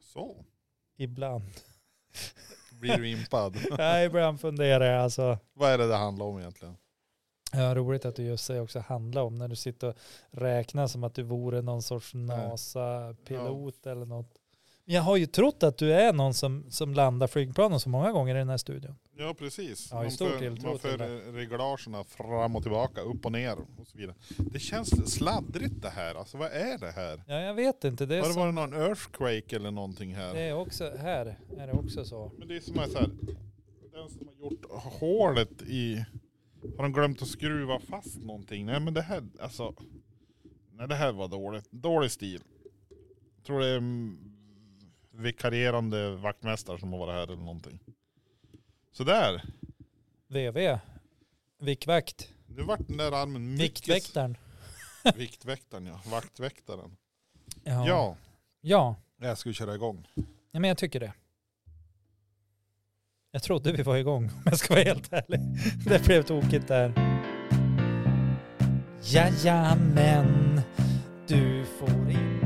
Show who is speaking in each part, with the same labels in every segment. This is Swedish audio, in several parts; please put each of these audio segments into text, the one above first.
Speaker 1: Så,
Speaker 2: ibland.
Speaker 1: blir du impad.
Speaker 2: Nej, ibland funderar jag alltså.
Speaker 1: Vad är det det handlar om egentligen?
Speaker 2: Ja, roligt att du just säger också handla om när du sitter och räknar som att du vore någon sorts NASA-pilot eller något. Men jag har ju trott att du är någon som, som landar flygplanen så många gånger i den här studion.
Speaker 1: Ja precis.
Speaker 2: Ja, i
Speaker 1: man
Speaker 2: stor
Speaker 1: för,
Speaker 2: tilltro
Speaker 1: man
Speaker 2: till
Speaker 1: för reglagerna fram och tillbaka, upp och ner och så vidare. Det känns sladdrigt det här. Alltså vad är det här?
Speaker 2: Ja, jag vet inte. Det är,
Speaker 1: Har det
Speaker 2: så,
Speaker 1: varit någon earthquake eller någonting här?
Speaker 2: det är också, här är det också så.
Speaker 1: Men det är som är så här, den som har gjort hålet i, har de glömt att skruva fast någonting? Nej men det här, alltså, nej det här var dåligt, dålig stil. Jag tror det är mm, vikarierande vaktmästare som har varit här eller någonting. Så där,
Speaker 2: VV, Vickvakt,
Speaker 1: nu vart den där armen mycket...
Speaker 2: Viktväktaren.
Speaker 1: Viktväktaren ja, vaktväktaren.
Speaker 2: Ja.
Speaker 1: Ja.
Speaker 2: ja. ja,
Speaker 1: jag skulle köra igång.
Speaker 2: men jag tycker det. Jag trodde vi var igång om jag ska vara helt ärlig. Det blev tokigt där. Jajamän, du får inte...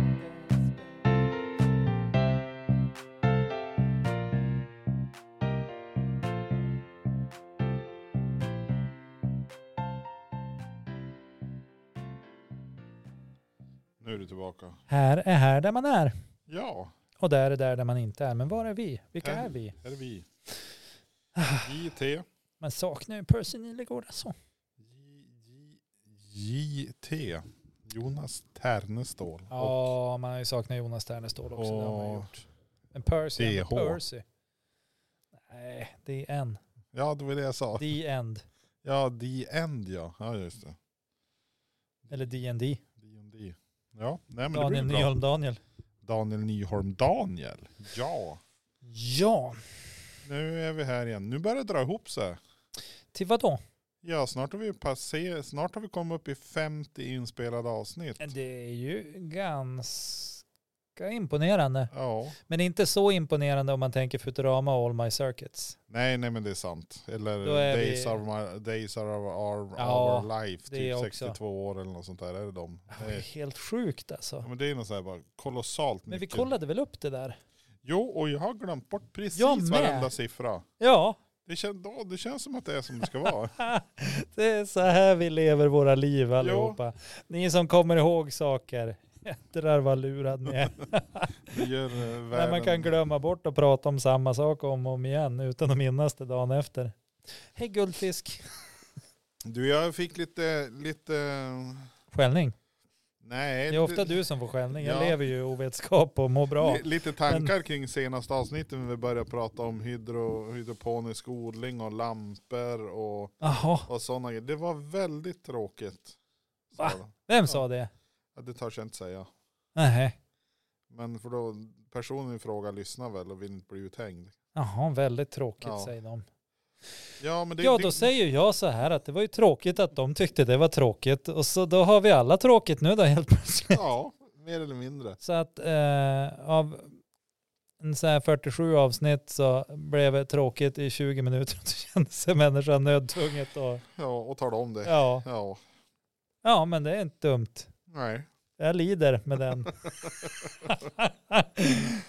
Speaker 1: Nu är du tillbaka.
Speaker 2: Här är här där man är.
Speaker 1: Ja,
Speaker 2: Och där är där där man inte är. Men var är vi? Vilka
Speaker 1: Här.
Speaker 2: är vi?
Speaker 1: här är vi. JT.
Speaker 2: Man saknar ju Percy Nilegård alltså.
Speaker 1: J- J- JT. Jonas Ternestål. Och
Speaker 2: Ja, man har ju saknat Jonas Ternestål också. Det har man ju
Speaker 1: Och-
Speaker 2: gjort. Men Percy, är ändå
Speaker 1: DH.
Speaker 2: Percy. Nej, det är en.
Speaker 1: Ja, det var det jag sa.
Speaker 2: The End.
Speaker 1: Ja, The End ja. Ja, just det.
Speaker 2: Eller D&D.
Speaker 1: D&D. Ja, nej men
Speaker 2: Daniel
Speaker 1: det blir bra.
Speaker 2: Nyholm Daniel.
Speaker 1: Daniel Nyholm Daniel. Ja,
Speaker 2: Ja,
Speaker 1: nu är vi här igen. Nu börjar det dra ihop sig.
Speaker 2: till vad då?
Speaker 1: Ja, snart har vi passerat, snart har vi kommit upp i 50 inspelade avsnitt.
Speaker 2: Det är ju ganska imponerande.
Speaker 1: Ja,
Speaker 2: Men inte så imponerande om man tänker Futurama och All My Circuits.
Speaker 1: nej, nej men det är sant. Eller
Speaker 2: Då är
Speaker 1: Days,
Speaker 2: vi-
Speaker 1: are my, days are our, our,
Speaker 2: Ja,
Speaker 1: our life,
Speaker 2: det
Speaker 1: typ
Speaker 2: också.
Speaker 1: 62 år eller något sånt där. Är det de?
Speaker 2: Ja,
Speaker 1: Det
Speaker 2: Det är
Speaker 1: är-
Speaker 2: helt sjukt alltså.
Speaker 1: Ja, men det är något så här bara kolossalt
Speaker 2: Men vi
Speaker 1: mycket.
Speaker 2: kollade väl upp det där?
Speaker 1: Jo, och jag har glömt bort precis
Speaker 2: Jag med.
Speaker 1: varenda siffra.
Speaker 2: Ja,
Speaker 1: Det, kän, då, det känns som att det är som det ska vara.
Speaker 2: det är så här vi lever våra liv allihopa. Ni som kommer ihåg saker. Jädrar vad lurad ni är.
Speaker 1: Det gör eh, världen...
Speaker 2: När man kan glömma bort att prata om samma sak om och om igen utan att minnas det dagen efter. Hej guldfisk.
Speaker 1: Du, jag fick lite... lite
Speaker 2: Skällning.
Speaker 1: nej,
Speaker 2: Det är ofta
Speaker 1: lite,
Speaker 2: du som får skällning. Jag
Speaker 1: Ja.
Speaker 2: lever ju i ovetskap och mår bra.
Speaker 1: li- lite tankar kring senaste avsnittet när vi började prata om hydro, hydroponisk odling och lampor och,
Speaker 2: Jaha,
Speaker 1: och sådana grejer. Det var väldigt tråkigt. Så
Speaker 2: Va?
Speaker 1: var det.
Speaker 2: vem sa det?
Speaker 1: Ja, det törs jag inte säga.
Speaker 2: Nej.
Speaker 1: Men för då, personen i fråga lyssnar väl och vill inte bli uthängd.
Speaker 2: Jaha, väldigt tråkigt
Speaker 1: Ja.
Speaker 2: säger de.
Speaker 1: Ja, men det,
Speaker 2: Ja,
Speaker 1: det,
Speaker 2: då säger jag så här att det var ju tråkigt att de tyckte det var tråkigt. Och så då har vi alla tråkigt nu då helt plötsligt.
Speaker 1: Ja, mer eller mindre.
Speaker 2: Så att eh, av en så här 47 avsnitt så blev det tråkigt i 20 minuter och då kände sig människan nödtvunget och
Speaker 1: Ja, och tala om det. Ja.
Speaker 2: ja. ja, men det är inte dumt.
Speaker 1: Nej.
Speaker 2: Jag lider med den.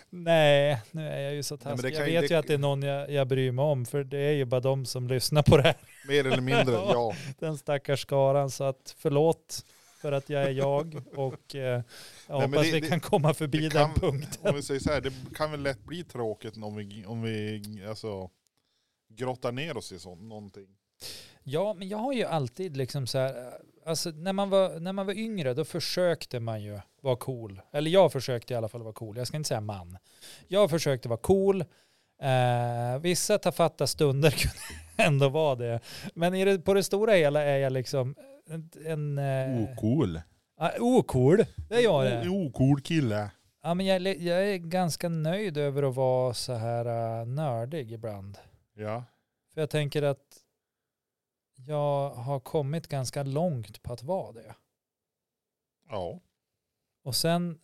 Speaker 2: Nej, nu är jag ju så
Speaker 1: men det
Speaker 2: taskig. jag
Speaker 1: kan ju-
Speaker 2: vet
Speaker 1: det-
Speaker 2: ju att det är någon jag, jag bryr mig om, för det är ju bara de som lyssnar på det här.
Speaker 1: Mer eller mindre, ja.
Speaker 2: Den stackars skaran, så att förlåt för att jag är jag och eh, jag
Speaker 1: men
Speaker 2: hoppas
Speaker 1: det-
Speaker 2: vi
Speaker 1: det-
Speaker 2: kan komma förbi
Speaker 1: det
Speaker 2: den
Speaker 1: kan-
Speaker 2: punkten.
Speaker 1: Om vi säger så här, det kan väl lätt bli tråkigt om vi, om vi alltså, grottar ner oss i sånt, någonting.
Speaker 2: Ja, men jag har ju alltid liksom så här, eh, alltså när man var, när man var yngre då försökte man ju vara cool. Eller jag försökte i alla fall vara cool, jag ska inte säga man. Jag försökte vara cool. Eh, vissa tafatta stunder kunde ändå vara det. Men i det, på det stora hela är jag liksom en... en eh,
Speaker 1: Ocool.
Speaker 2: ah, ocool, det är jag det.
Speaker 1: Ocool kille.
Speaker 2: Ja, men jag, är li- jag är ganska nöjd över att vara så här eh, nördig ibland.
Speaker 1: Ja.
Speaker 2: För jag tänker att jag har kommit ganska långt på att vara det.
Speaker 1: Ja.
Speaker 2: Och sen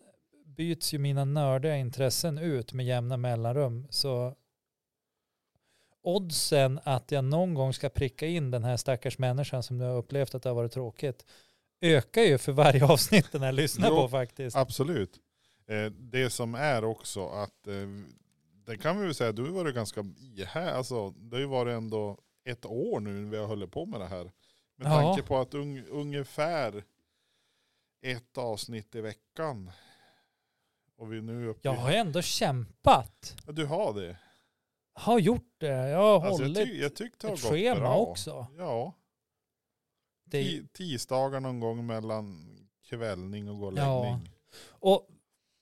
Speaker 2: byts ju mina nördiga intressen ut med jämna mellanrum. Så oddsen att jag någon gång ska pricka in den här stackars människan som nu har upplevt att det har varit tråkigt ökar ju för varje avsnitt den här lyssnar
Speaker 1: Jo, Alltså,
Speaker 2: på faktiskt.
Speaker 1: Absolut. Eh, det som är också att, eh, det kan vi väl säga, du har varit ganska ihär, alltså det har ju varit ändå ett år nu vi har hållit på med det här. Med
Speaker 2: Ja.
Speaker 1: tanke på att un, ungefär ett avsnitt i veckan. Och vi är nu uppe
Speaker 2: Jag
Speaker 1: i-
Speaker 2: har ändå kämpat.
Speaker 1: Ja, Du har det.
Speaker 2: Har gjort det. Jag har
Speaker 1: Alltså, jag,
Speaker 2: hållit
Speaker 1: ty, jag tyckte det har
Speaker 2: ett
Speaker 1: gått
Speaker 2: schema
Speaker 1: bra.
Speaker 2: också.
Speaker 1: Ja.
Speaker 2: Det är-
Speaker 1: Ti- tisdagar någon gång mellan kvällning och gåläggning.
Speaker 2: Ja. Och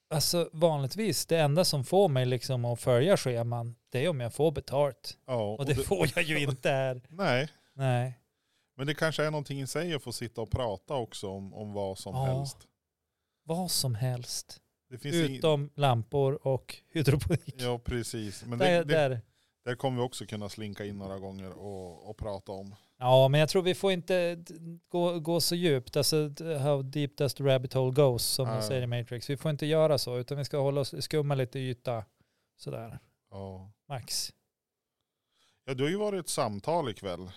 Speaker 2: alltså vanligtvis, det enda som får mig liksom att följa scheman, det är om jag får betalt.
Speaker 1: Ja,
Speaker 2: Och det
Speaker 1: det-
Speaker 2: får jag ju inte här.
Speaker 1: Nej,
Speaker 2: Nej.
Speaker 1: men det kanske är någonting i sig att få sitta och prata också om, om vad som
Speaker 2: Ja.
Speaker 1: helst.
Speaker 2: Vad som helst.
Speaker 1: Det finns inget...
Speaker 2: Utom lampor och hydroponik.
Speaker 1: Ja, precis. Men
Speaker 2: där,
Speaker 1: det, det,
Speaker 2: där.
Speaker 1: där kommer vi också kunna slinka in några gånger och, och prata om.
Speaker 2: Ja, men jag tror vi får inte d- gå, gå så djupt. Alltså d- how deep does the rabbit hole goes, som de
Speaker 1: Nej.
Speaker 2: säger i Matrix. Vi får inte göra så, utan vi ska hålla oss, skumma lite yta. Sådär,
Speaker 1: Ja.
Speaker 2: max.
Speaker 1: ja, du har ju varit ett samtal ikväll.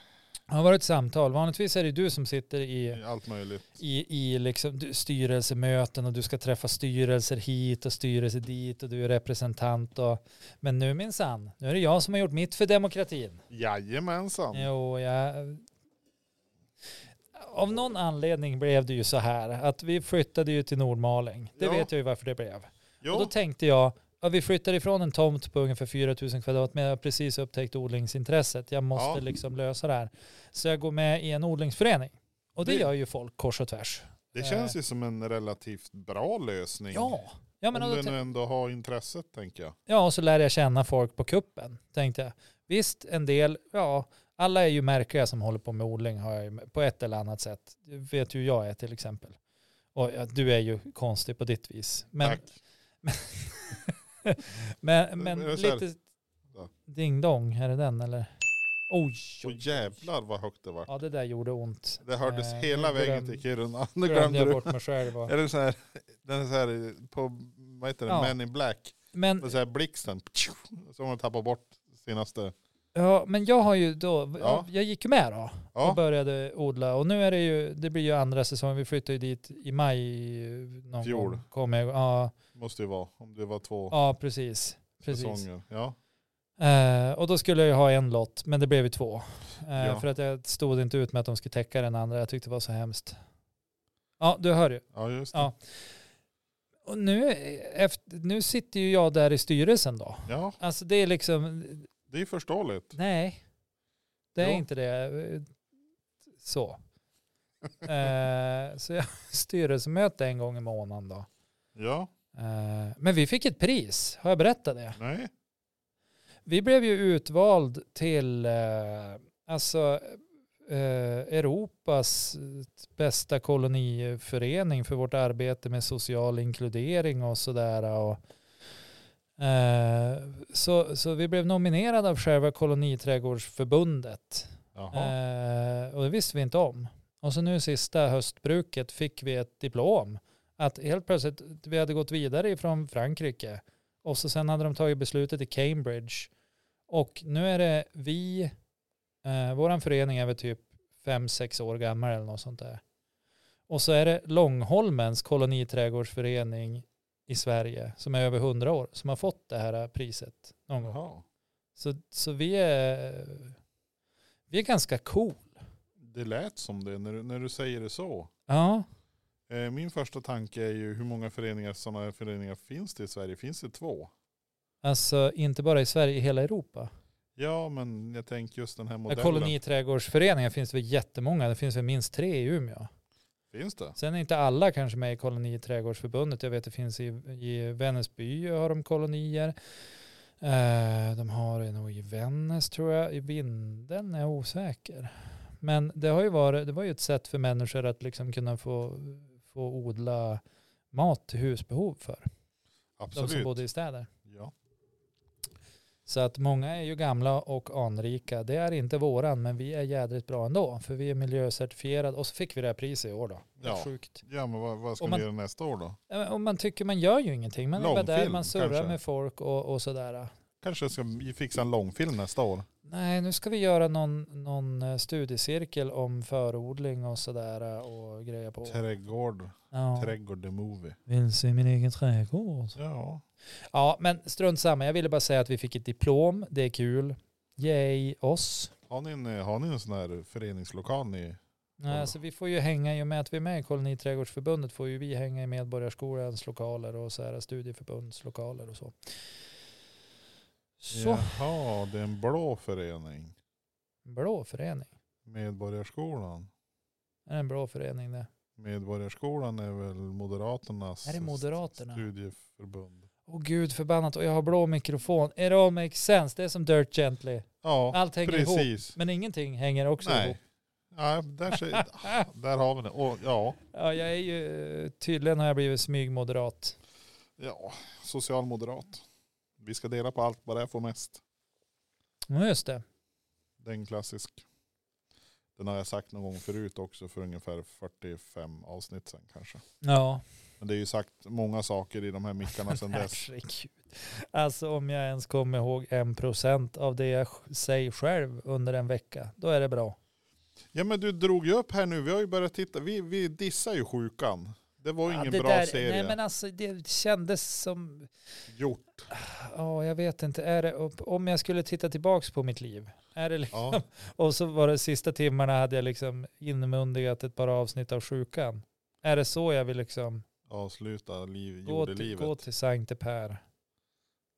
Speaker 2: Det har varit ett samtal. Vanligtvis är det du som sitter i
Speaker 1: Allt möjligt.
Speaker 2: i, i liksom du- styrelsemöten och du ska träffa styrelser hit och styrelser dit och du är representant. Och, men nu minsann, nu är det jag som har gjort mitt för demokratin.
Speaker 1: Jajamensan.
Speaker 2: Jo, jag... Av någon anledning blev det ju så här att vi flyttade ju till Nordmaling. Det
Speaker 1: Ja.
Speaker 2: vet jag ju varför det blev. Och då
Speaker 1: Jo,
Speaker 2: tänkte jag, ja, vi flyttar ifrån en tomt på ungefär 4000 kvadrat, men jag har precis upptäckt odlingsintresset. Jag måste
Speaker 1: Ja.
Speaker 2: liksom lösa det här. Så jag går med i en odlingsförening. Och det
Speaker 1: Det-
Speaker 2: gör ju folk kors och tvärs.
Speaker 1: det känns ju som en relativt bra lösning.
Speaker 2: eh. Ja, ja, men
Speaker 1: om
Speaker 2: då,
Speaker 1: du
Speaker 2: tän-
Speaker 1: nu ändå har intresset tänker jag.
Speaker 2: ja och så lär jag känna folk på kuppen, tänkte jag. Visst, en del, ja, alla är ju märkliga som håller på med odling har jag, ju- på ett eller annat sätt. Du vet ju hur jag är till exempel. Och ja, du är ju konstig på ditt vis. Men,
Speaker 1: Tack.
Speaker 2: men, men
Speaker 1: Men så här-
Speaker 2: lite
Speaker 1: Ja.
Speaker 2: ding-dong, är det den eller? Oj,
Speaker 1: Och
Speaker 2: oj.
Speaker 1: jävlar vad högt det var.
Speaker 2: Ja, det där gjorde ont.
Speaker 1: Det hördes
Speaker 2: Eh,
Speaker 1: hela
Speaker 2: nu
Speaker 1: vägen
Speaker 2: glöm-
Speaker 1: till Kiruna. Nu
Speaker 2: Nu glömde
Speaker 1: glömde
Speaker 2: jag
Speaker 1: du.
Speaker 2: bort mig själv. och-
Speaker 1: Är det så här, den är så här på, vad heter det,
Speaker 2: Ja.
Speaker 1: Man in Black.
Speaker 2: Men
Speaker 1: Det är så här blixten, ptju, så har man tappat bort senaste.
Speaker 2: Ja, men jag har ju då,
Speaker 1: Ja.
Speaker 2: jag gick ju med då
Speaker 1: Ja.
Speaker 2: och började odla och nu är det ju, det blir ju andra säsongen, vi flyttade ju dit i maj någon
Speaker 1: Fjol.
Speaker 2: gång. Kom jag, ja,
Speaker 1: Måste ju vara, om det var två
Speaker 2: ja, precis. precis.
Speaker 1: säsonger. Ja.
Speaker 2: Eh, och då skulle jag ju ha en lott, men det blev ju två. Eh,
Speaker 1: Ja.
Speaker 2: För att jag stod inte ut med att de skulle täcka den andra, jag tyckte det var så hemskt. Ja, du hör ju.
Speaker 1: ja, just det.
Speaker 2: Ja. Och nu, eh, efter, nu sitter ju jag där i styrelsen då.
Speaker 1: Ja,
Speaker 2: Alltså det är liksom,
Speaker 1: det är förståeligt.
Speaker 2: nej, det är
Speaker 1: Jo.
Speaker 2: inte det. Så. Eh, så jag styrelsemöte en gång i månaden då.
Speaker 1: ja,
Speaker 2: Eh, men vi fick ett pris, har jag berättat det?
Speaker 1: nej.
Speaker 2: Vi blev ju utvald till eh, alltså, eh, Europas bästa koloniförening för vårt arbete med social inkludering och sådär. Och, eh, så, så vi blev nominerade av själva koloniträdgårdsförbundet.
Speaker 1: Jaha.
Speaker 2: Eh, och det visste vi inte om. Och så nu sista höstbruket fick vi ett diplom. Att helt plötsligt, vi hade gått vidare ifrån Frankrike och så sen hade de tagit beslutet i Cambridge. Och nu är det vi, eh, vår förening är väl typ fem sex år gammal eller något sånt där. Och så är det Långholmens koloniträdgårdsförening i Sverige som är över 100 år som har fått det här priset någon gång.
Speaker 1: Jaha.
Speaker 2: Så, så vi, är, vi är ganska cool.
Speaker 1: Det lät som det när du, när du säger det så.
Speaker 2: Ja,
Speaker 1: Eh, Min första tanke är ju hur många föreningar, sådana här föreningar finns det i Sverige? Finns det två?
Speaker 2: alltså inte bara i Sverige, i hela Europa.
Speaker 1: Ja, men jag tänker just den här
Speaker 2: Ja,
Speaker 1: modellen.
Speaker 2: koloniträdgårdsföreningar finns det väl jättemånga, det finns väl minst tre i Umeå.
Speaker 1: Finns det?
Speaker 2: Sen är inte alla kanske med i koloniträdgårdsförbundet. Jag vet det finns i, i Vännäsby har de kolonier. Eh, de har det nog i Vännäs tror jag, i Vindeln är jag osäker. Men det, har ju varit, det var ju ett sätt för människor att liksom kunna få, få odla mat till husbehov för de som bodde
Speaker 1: Absolut.
Speaker 2: i städer.
Speaker 1: Ja.
Speaker 2: Så att många är ju gamla och anrika. Det är inte våran, men vi är jädrigt bra ändå, för vi är miljöcertifierade. Och så fick vi det här priset i år då. Ja.
Speaker 1: Ja.
Speaker 2: Sjukt.
Speaker 1: Ja, men vad, vad ska
Speaker 2: Om man-
Speaker 1: vi göra nästa år då?
Speaker 2: Ja, men- Och man tycker man gör ju ingenting. Man är bara där,
Speaker 1: Långfilm,
Speaker 2: man surrar
Speaker 1: kanske.
Speaker 2: med folk och, och sådär.
Speaker 1: Kanske ska vi fixa en långfilm nästa år.
Speaker 2: Nej, nu ska vi göra någon, någon eh, studiecirkel om förodling eh, och sådär och grejer på.
Speaker 1: Trädgård.
Speaker 2: Ja.
Speaker 1: Trädgård the movie.
Speaker 2: Vilse i min egen trädgård.
Speaker 1: Ja.
Speaker 2: Ja, men strunt samma. Jag ville bara säga att vi fick ett diplom. Det är kul. Yay, oss.
Speaker 1: Har ni, en, eh, har ni en sån här föreningslokal ni?
Speaker 2: Nej, alltså, vi får ju hänga, i och med att vi är med i Koloniträdgårdsförbundet får ju vi hänga i Medborgarskolans lokaler och så här, studieförbunds lokaler och så. Så,
Speaker 1: Jaha, det är en blå förening.
Speaker 2: blå förening.
Speaker 1: Medborgarskolan.
Speaker 2: Är det en blå förening det?
Speaker 1: Medborgarskolan är väl Moderaternas
Speaker 2: Är det Moderaterna?
Speaker 1: studieförbund.
Speaker 2: Åh gud förbannat och jag har blå mikrofon. It all makes sense. Det är som Dirt Gently.
Speaker 1: Ja,
Speaker 2: Allt hänger ihop.
Speaker 1: precis.
Speaker 2: Men ingenting hänger också ihop.
Speaker 1: Nej. Ja, där, ser, ah, där har vi det. Och, ja,
Speaker 2: Ja, jag är ju, tydligen har jag blivit smygmoderat.
Speaker 1: ja, socialmoderat. Vi ska dela på allt, bara jag får mest.
Speaker 2: Ja, just det.
Speaker 1: Det är en klassisk. Den har jag sagt någon gång förut också för ungefär 45 avsnitt sedan kanske.
Speaker 2: Ja.
Speaker 1: Men det är ju sagt många saker i de här mickarna sedan dess.
Speaker 2: Herregud. Alltså om jag ens kommer ihåg en procent av det jag sj- säger själv under en vecka, då är det bra.
Speaker 1: Ja men du drog ju upp här nu, vi har ju börjat titta, vi, vi dissar ju sjukan. Det var ju
Speaker 2: Ja,
Speaker 1: ingen
Speaker 2: det
Speaker 1: bra
Speaker 2: där-
Speaker 1: serie.
Speaker 2: Nej men alltså det kändes som,
Speaker 1: Gjort.
Speaker 2: ja jag vet inte, är det, upp- om jag skulle titta tillbaks på mitt liv, är det, li-
Speaker 1: Ja.
Speaker 2: och så var det sista timmarna hade jag liksom inmundigat ett par avsnitt av sjukan. Är det så jag vill liksom
Speaker 1: Avsluta liv,
Speaker 2: gå till,
Speaker 1: jordelivet.
Speaker 2: gå till Sankte Per?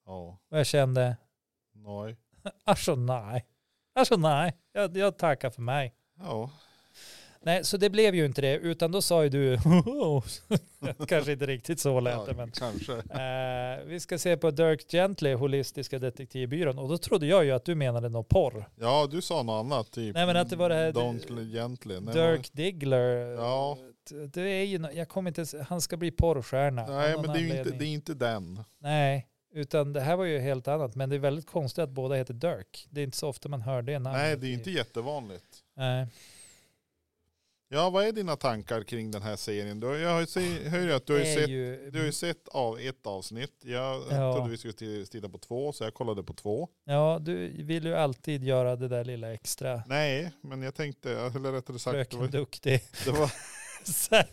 Speaker 1: Ja.
Speaker 2: Och jag kände,
Speaker 1: Nej.
Speaker 2: alltså nej, alltså nej, jag, jag tackar för mig.
Speaker 1: Ja.
Speaker 2: Nej, så det blev ju inte det, utan då sa ju du, kanske inte riktigt så lät det,
Speaker 1: ja,
Speaker 2: men
Speaker 1: kanske.
Speaker 2: eh, vi ska se på Dirk Gently, Holistiska Detektivbyrån, och då trodde jag ju att du menade något porr.
Speaker 1: Ja, du sa något annat. Typ.
Speaker 2: Nej, men att det var det här-
Speaker 1: Don't gently. Nej,
Speaker 2: Dirk Diggler,
Speaker 1: Ja.
Speaker 2: eh, det är ju, nå- jag kommer inte, ens- han ska bli porrstjärna.
Speaker 1: men,
Speaker 2: av
Speaker 1: nej,
Speaker 2: någon
Speaker 1: men det är ju inte,
Speaker 2: anledning.
Speaker 1: det är inte den.
Speaker 2: Nej, utan det här var ju helt annat, men det är väldigt konstigt att båda heter Dirk. Det är inte så ofta man hör det namnet.
Speaker 1: Nej, det är
Speaker 2: i-
Speaker 1: ju inte jättevanligt.
Speaker 2: Nej.
Speaker 1: Ja, vad är dina tankar kring den här serien? Du, har- jag har ju se, hör ju att du har ju
Speaker 2: Det är
Speaker 1: sett,
Speaker 2: ju-
Speaker 1: du har ju sett av ett avsnitt. Jag
Speaker 2: Ja.
Speaker 1: trodde vi skulle t- titta på två, så jag kollade på två.
Speaker 2: Ja, du vill ju alltid göra det där lilla extra.
Speaker 1: Nej, men jag tänkte, eller rättare sagt, det
Speaker 2: Fröken
Speaker 1: var,
Speaker 2: Duktig.
Speaker 1: det, var,
Speaker 2: Så här.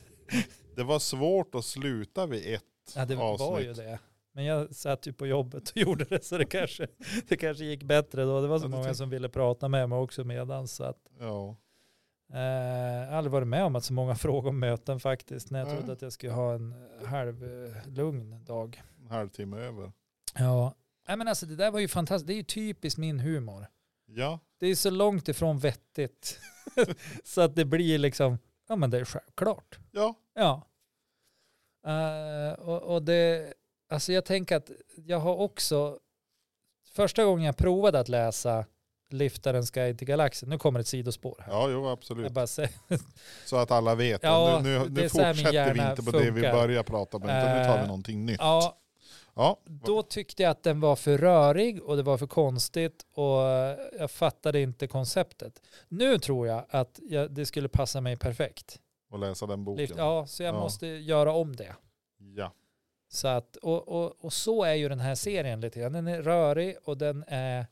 Speaker 1: det var svårt att sluta vid ett.
Speaker 2: Ja, det var
Speaker 1: avsnitt.
Speaker 2: ju det. Men jag satt ju på jobbet och gjorde det så det kanske, det kanske gick bättre då. Det var så
Speaker 1: Ja, det
Speaker 2: många
Speaker 1: tänk-
Speaker 2: som ville prata med mig också medan. Så att,
Speaker 1: Ja.
Speaker 2: eh, jag har aldrig varit med om att så många frågor om möten faktiskt. När jag
Speaker 1: Nej.
Speaker 2: trodde att jag skulle ha en halv eh, lugn dag.
Speaker 1: en halvtimme över.
Speaker 2: Ja, Nej, men alltså det där var ju fantastiskt. Det är ju typiskt min humor.
Speaker 1: Ja,
Speaker 2: Det är så långt ifrån vettigt. så att det blir liksom, ja men det är självklart.
Speaker 1: ja,
Speaker 2: Ja. Eh, och, och det, alltså jag tänker att jag har också, första gången jag provade att läsa Liftarens guide till galaxen, nu kommer ett sidospår här.
Speaker 1: ja jo,
Speaker 2: Jag
Speaker 1: absolut.
Speaker 2: bara säger,
Speaker 1: Så att alla vet.
Speaker 2: Ja,
Speaker 1: nu nu,
Speaker 2: det
Speaker 1: nu
Speaker 2: är så här min
Speaker 1: fortsätter vi
Speaker 2: hjärna
Speaker 1: inte på det vi
Speaker 2: funkar.
Speaker 1: börjar prata om, utan nu tar vi
Speaker 2: Eh,
Speaker 1: någonting nytt.
Speaker 2: ja,
Speaker 1: Ja,
Speaker 2: då tyckte jag att den var för rörig och det var för konstigt och eh, jag fattade inte konceptet. Nu tror jag att jag, det skulle passa mig perfekt.
Speaker 1: och läsa den boken.
Speaker 2: Lift, ja, så jag
Speaker 1: Ja.
Speaker 2: måste göra om det.
Speaker 1: Ja.
Speaker 2: Så att, och, och, och så är ju den här serien lite grann. Den är rörig och den är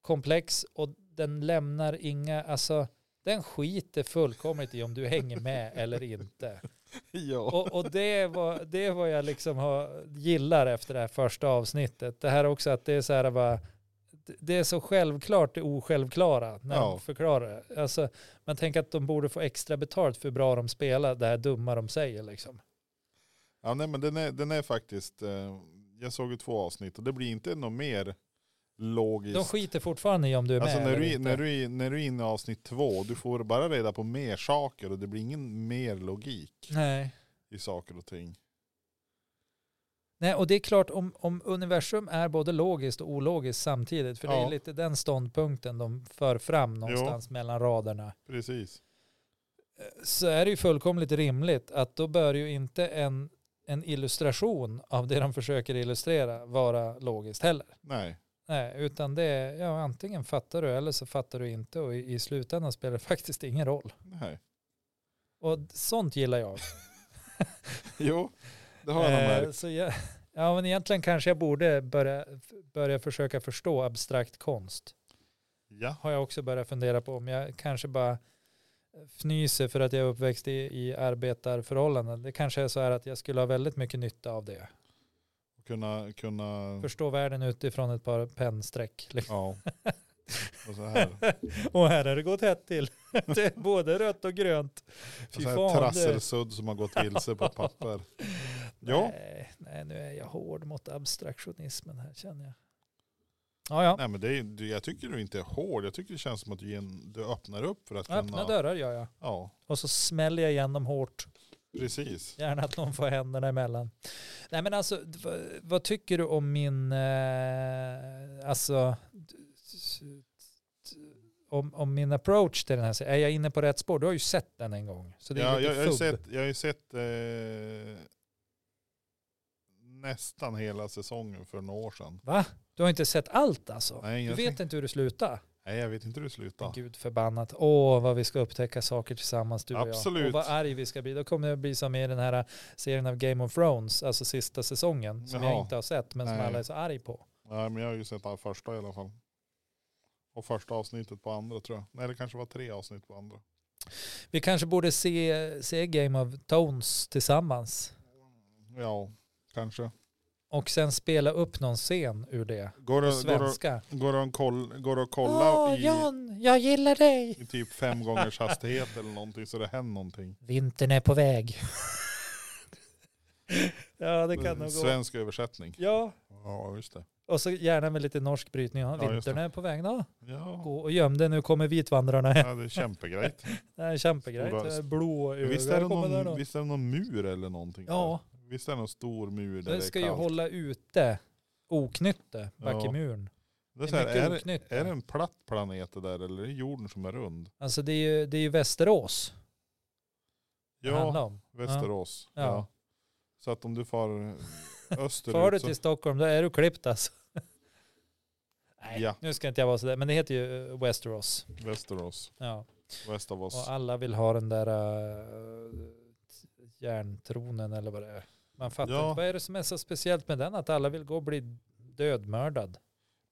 Speaker 2: komplex och den lämnar inga, alltså den skiter fullkomligt i om du hänger med eller inte.
Speaker 1: ja.
Speaker 2: Och, och det, var, det var jag liksom har, gillar efter det här första avsnittet. Det här också att det är så här bara, det är så självklart det osjälvklara när
Speaker 1: Ja.
Speaker 2: de förklarar det. Alltså, man tänker att de borde få extra betalt för hur bra de spelar det här dumma de säger liksom.
Speaker 1: ja, nej men den är, den är faktiskt, eh, jag såg ju två avsnitt och det blir inte något mer logiskt.
Speaker 2: De skiter fortfarande i om du är
Speaker 1: Alltså
Speaker 2: med
Speaker 1: när
Speaker 2: eller
Speaker 1: du,
Speaker 2: inte.
Speaker 1: när, du, är- när du är inne i avsnitt två, du får bara reda på mer saker och det blir ingen mer logik
Speaker 2: Nej.
Speaker 1: i saker och ting.
Speaker 2: Nej, och det är klart om, om universum är både logiskt och ologiskt samtidigt, för det
Speaker 1: Ja.
Speaker 2: är lite den ståndpunkten de för fram någonstans mellan raderna,
Speaker 1: Precis.
Speaker 2: eh, så är det ju fullkomligt rimligt att då bör ju inte en, en illustration av det de försöker illustrera vara logiskt heller.
Speaker 1: Nej.
Speaker 2: Nej, utan det är, ja, antingen fattar du eller så fattar du inte och i, i slutändan spelar det faktiskt ingen roll.
Speaker 1: Nej.
Speaker 2: Och sånt gillar jag.
Speaker 1: Jo, det har jag nog
Speaker 2: Eh,
Speaker 1: märkt.
Speaker 2: så jag, ja, men egentligen kanske jag borde börja, börja försöka förstå abstrakt konst.
Speaker 1: Ja.
Speaker 2: har jag också börjat fundera på om jag kanske bara fnyser för att jag är uppväxt i, i arbetarförhållanden. Det kanske är så här att jag skulle ha väldigt mycket nytta av det.
Speaker 1: Mm. Kunna, kunna,
Speaker 2: Förstå världen utifrån ett par pennstreck. liksom.
Speaker 1: ja. Och så här,
Speaker 2: Och här har det gått hett till. Det är både rött och grönt.
Speaker 1: och
Speaker 2: Fy
Speaker 1: så
Speaker 2: fan,
Speaker 1: här
Speaker 2: det-
Speaker 1: trasselsudd som har gått vilse på ett papper. Ja,
Speaker 2: Nej, nej, nu är jag hård mot abstraktionismen här känner jag. Ja, ja.
Speaker 1: nej men det är, du- jag tycker du inte är hård. Jag tycker det känns som att du, ger en- du öppnar upp för att
Speaker 2: Öppna
Speaker 1: kunna.
Speaker 2: dörrar gör jag.
Speaker 1: Ja,
Speaker 2: Och så smäller jag igen dem hårt.
Speaker 1: precis.
Speaker 2: Gärna att någon får händerna emellan. Nej men alltså, d- vad, vad tycker du om min, eh, alltså, d- d- om, om min approach till den här serien? Är jag inne på rätt spår? Du har ju sett den en gång. Så det är
Speaker 1: Ja,
Speaker 2: lite
Speaker 1: jag, jag har ju
Speaker 2: fubb.
Speaker 1: sett, jag har ju sett eh, nästan hela säsongen för några år sedan.
Speaker 2: Va? Du har inte sett allt alltså?
Speaker 1: Nej,
Speaker 2: du
Speaker 1: jag
Speaker 2: vet
Speaker 1: tänkte-
Speaker 2: inte hur det slutar?
Speaker 1: Nej, jag vet inte hur det slutar.
Speaker 2: Gud förbannat. Åh, vad vi ska upptäcka saker tillsammans du och jag.
Speaker 1: Absolut.
Speaker 2: Och vad arg vi ska bli. Då kommer det bli som i den här serien av Game of Thrones, alltså sista säsongen, som jag
Speaker 1: Jaha.
Speaker 2: inte har sett men som
Speaker 1: Nej.
Speaker 2: alla är så arg på.
Speaker 1: Nej, men jag har ju sett den första i alla fall. Och första avsnittet på andra tror jag. Nej, det kanske var tre avsnitt på andra.
Speaker 2: Vi kanske borde se, se Game of Thrones tillsammans
Speaker 1: Ja, kanske.
Speaker 2: och sen spela upp någon scen ur det.
Speaker 1: Går
Speaker 2: På
Speaker 1: det, går det,
Speaker 2: svenska.
Speaker 1: går det, att, koll, går det att kolla
Speaker 2: Åh,
Speaker 1: i,
Speaker 2: John, jag gillar dig.
Speaker 1: i typ fem gångers hastighet eller någonting så det händer någonting?
Speaker 2: Vintern är på väg. ja, det kan nog gå.
Speaker 1: Svensk översättning.
Speaker 2: Ja,
Speaker 1: Ja, just det.
Speaker 2: och så gärna med lite norsk brytning. Ja,
Speaker 1: Ja, just
Speaker 2: vintern
Speaker 1: det.
Speaker 2: är på väg. Ja.
Speaker 1: Ja,
Speaker 2: Gå och göm dig, nu kommer vitvandrarna hem.
Speaker 1: ja det är kämpegrejt.
Speaker 2: Det är en kämpegrej.
Speaker 1: Stora-
Speaker 2: Det är Blå ögon
Speaker 1: Visst är, det
Speaker 2: kommer där då.
Speaker 1: någon, visst är det någon mur eller någonting?
Speaker 2: Ja,
Speaker 1: Visst är det någon stor mur där
Speaker 2: den
Speaker 1: det
Speaker 2: ska
Speaker 1: är
Speaker 2: ju
Speaker 1: kallt?
Speaker 2: hålla ute oknytte back i
Speaker 1: Ja.
Speaker 2: muren.
Speaker 1: det är,
Speaker 2: det
Speaker 1: så här,
Speaker 2: är mycket
Speaker 1: är, det-
Speaker 2: oknytt,
Speaker 1: är
Speaker 2: ja.
Speaker 1: det en platt planet det där eller är det jorden som är rund?
Speaker 2: Alltså det är ju, det är ju Västerås det handlar
Speaker 1: Ja,
Speaker 2: om.
Speaker 1: Västerås.
Speaker 2: Ja.
Speaker 1: Ja. Så att om du far österut
Speaker 2: Far du
Speaker 1: så-
Speaker 2: till Stockholm då är du klippt alltså. Nej,
Speaker 1: Ja.
Speaker 2: nu ska inte jag vara sådär. Men det heter ju eh, Västerås.
Speaker 1: Västerås,
Speaker 2: Ja.
Speaker 1: väst av oss.
Speaker 2: Och alla vill ha den där eh, järntronen eller vad det är. Man fattar
Speaker 1: Ja.
Speaker 2: inte. Vad är det som är så speciellt med den? Att alla vill gå och bli dödmördad.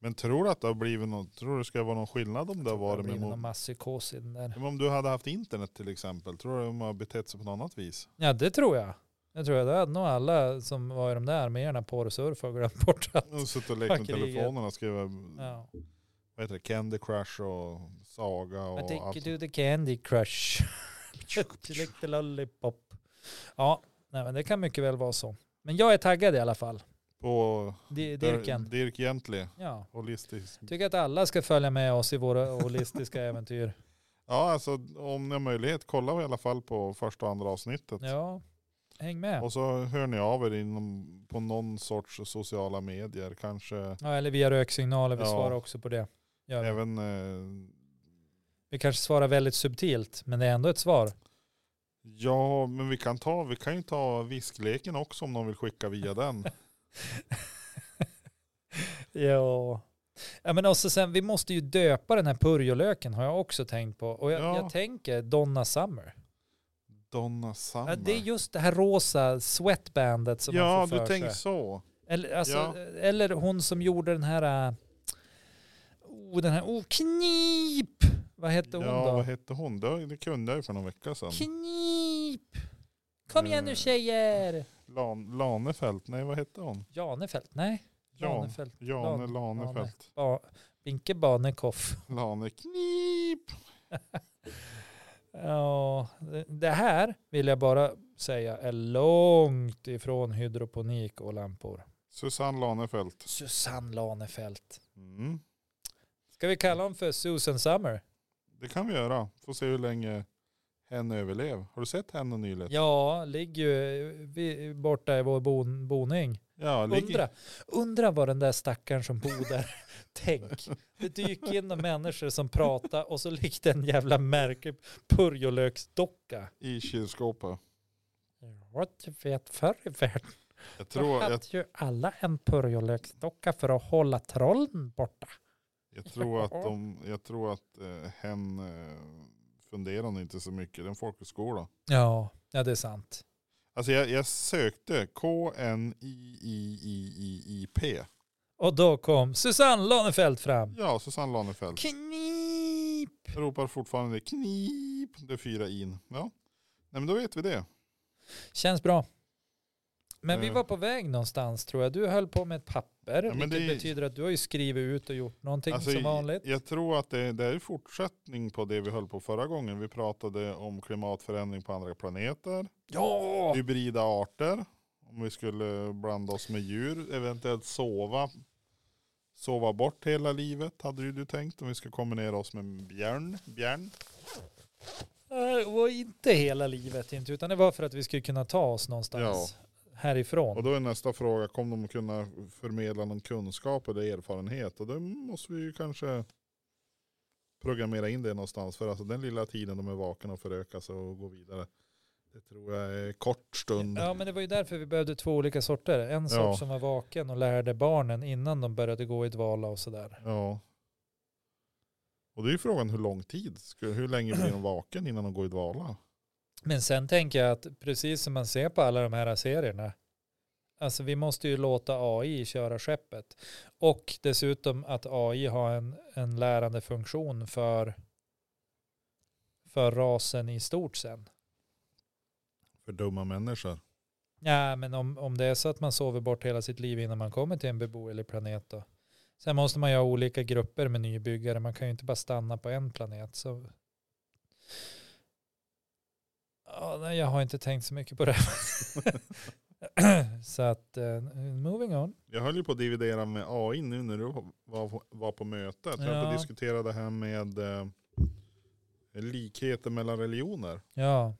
Speaker 1: Men tror du att det har blivit någon, tror du det ska vara någon skillnad om det har varit
Speaker 2: blir
Speaker 1: med
Speaker 2: någon
Speaker 1: mo-
Speaker 2: masspsykos i den där.
Speaker 1: Ja, men om du hade haft internet till exempel, tror du de har betett sig på något annat vis?
Speaker 2: Ja, det tror jag. Det tror jag. Det hade nog alla som var i de där arméerna porrsurfat och glömt bort att...
Speaker 1: De suttit och lekt med
Speaker 2: Kriget.
Speaker 1: telefonerna och skrivit
Speaker 2: Ja.
Speaker 1: vad heter det, Candy Crush och Saga
Speaker 2: I
Speaker 1: och
Speaker 2: take
Speaker 1: allt.
Speaker 2: you to the candy crush. She like the lollipop. Ja, nej, men det kan mycket väl vara så. Men jag är taggad i alla fall.
Speaker 1: På Dir-
Speaker 2: Di- Dirken.
Speaker 1: Dirk Gently,
Speaker 2: Ja.
Speaker 1: holistisk.
Speaker 2: Tycker att alla ska följa med oss i våra holistiska äventyr.
Speaker 1: Ja, alltså om ni har möjlighet, kolla i alla fall på första och andra avsnittet.
Speaker 2: Ja, häng med.
Speaker 1: Och så hör ni av er inom, på någon sorts sociala medier, kanske
Speaker 2: Ja, eller via röksignaler. Vi
Speaker 1: Ja.
Speaker 2: svarar också på det. Gör vi.
Speaker 1: även eh,
Speaker 2: vi kanske svarar väldigt subtilt, men det är ändå ett svar.
Speaker 1: Ja, men vi kan, ta, vi kan ju ta viskleken också om någon vill skicka via den.
Speaker 2: Ja. ja men också sen, vi måste ju döpa den här purjolöken har jag också tänkt på. Och jag,
Speaker 1: Ja.
Speaker 2: jag tänker Donna Summer.
Speaker 1: Donna Summer.
Speaker 2: Ja, det är just det här rosa sweatbandet som
Speaker 1: ja
Speaker 2: man får
Speaker 1: du
Speaker 2: för
Speaker 1: tänker
Speaker 2: sig.
Speaker 1: så.
Speaker 2: Eller, alltså,
Speaker 1: Ja.
Speaker 2: eller hon som gjorde den här, äh, oh, den här, oh, knip! Vad hette hon
Speaker 1: ja,
Speaker 2: då?
Speaker 1: vad hette hon? Det, det kunde jag ju för någon vecka sedan.
Speaker 2: Knip! Kom igen nu
Speaker 1: Eh.
Speaker 2: tjejer!
Speaker 1: Lan, Lanefelt, nej vad hette hon?
Speaker 2: Janefelt, nej.
Speaker 1: Jan,
Speaker 2: Janefelt.
Speaker 1: Jane
Speaker 2: Lan-
Speaker 1: Lanefelt.
Speaker 2: Ba, Binke Banekoff.
Speaker 1: Lane Knip.
Speaker 2: Ja, det- det här vill jag bara säga är långt ifrån hydroponik och lampor.
Speaker 1: Susanne Lanefelt.
Speaker 2: Susanne Lanefelt.
Speaker 1: Mm.
Speaker 2: Ska vi kalla hon för Susan Summer?
Speaker 1: Det kan vi göra. Får se hur länge hen överlev. Har du sett henne nyligen?
Speaker 2: Ja, ligger ju vi- borta i vår bon, boning.
Speaker 1: Ja, ligger,
Speaker 2: Undra, undra vad den där stackaren som bor där, tänk. Det dyker in några människor som pratar och så ligger det en jävla märklig purjolöksdocka.
Speaker 1: i kylskåpet.
Speaker 2: What you vet förr i världen.
Speaker 1: Jag tror,
Speaker 2: Då
Speaker 1: jag,
Speaker 2: hade ju alla en purjolöksdocka för att hålla trollen borta.
Speaker 1: Jag tror att, de, jag tror att eh, hen eh, funderar nog inte så mycket. Det är en folkhögskola.
Speaker 2: Ja, ja det är sant.
Speaker 1: Alltså jag, jag sökte K-N-I-I-I-I-I-P.
Speaker 2: Och då kom Susanne Lanefelt fram.
Speaker 1: Ja, Susanne Lanefelt.
Speaker 2: Knip!
Speaker 1: Jag ropar fortfarande knip. Det är fyra in. Ja. Nej men då vet vi det.
Speaker 2: Känns bra. Men vi
Speaker 1: Eh.
Speaker 2: var på väg någonstans tror jag. Du höll på med ett papper,
Speaker 1: men
Speaker 2: vilket
Speaker 1: det är-
Speaker 2: betyder att du har ju skrivit ut och gjort någonting
Speaker 1: Alltså,
Speaker 2: som vanligt.
Speaker 1: Jag tror att det, det är fortsättning på det vi höll på förra gången. Vi pratade om klimatförändring på andra planeter.
Speaker 2: Ja!
Speaker 1: Hybrida arter. Om vi skulle blanda oss med djur. Eventuellt sova. Sova bort hela livet hade ju du tänkt. Om vi ska kombinera oss med björn. björn.
Speaker 2: Det var inte hela livet inte, utan det var för att vi skulle kunna ta oss någonstans
Speaker 1: Och
Speaker 2: härifrån.
Speaker 1: då är nästa fråga, kommer de kunna förmedla någon kunskap eller erfarenhet? Och det måste vi ju kanske programmera in det någonstans. För alltså den lilla tiden de är vakna och förökar sig och går vidare. Det tror jag är kort stund.
Speaker 2: Ja, men det var ju därför vi behövde två olika sorter. En sort
Speaker 1: Ja.
Speaker 2: som var vaken och lärde barnen innan de började gå i dvala och sådär.
Speaker 1: Ja. Och det är ju frågan hur lång tid, Ska- hur länge blir de vaken innan de går i dvala?
Speaker 2: Men sen tänker jag att precis som man ser på alla de här serierna, alltså vi måste ju låta AI köra skeppet. Och dessutom att AI har en, en lärande funktion för, för rasen i stort sen.
Speaker 1: För dumma människor.
Speaker 2: Ja, men om, om det är så att man sover bort hela sitt liv innan man kommer till en beboelig planet då. Sen måste man ju ha olika grupper med nybyggare. Man kan ju inte bara stanna på en planet. Så... Ja, nej, jag har inte tänkt så mycket på det. så att, eh, moving on.
Speaker 1: Jag höll ju på att dividera med AI nu när du var på, var på mötet. Jag höll på
Speaker 2: Ja.
Speaker 1: att diskutera det här med eh, likheter mellan religioner.
Speaker 2: Ja,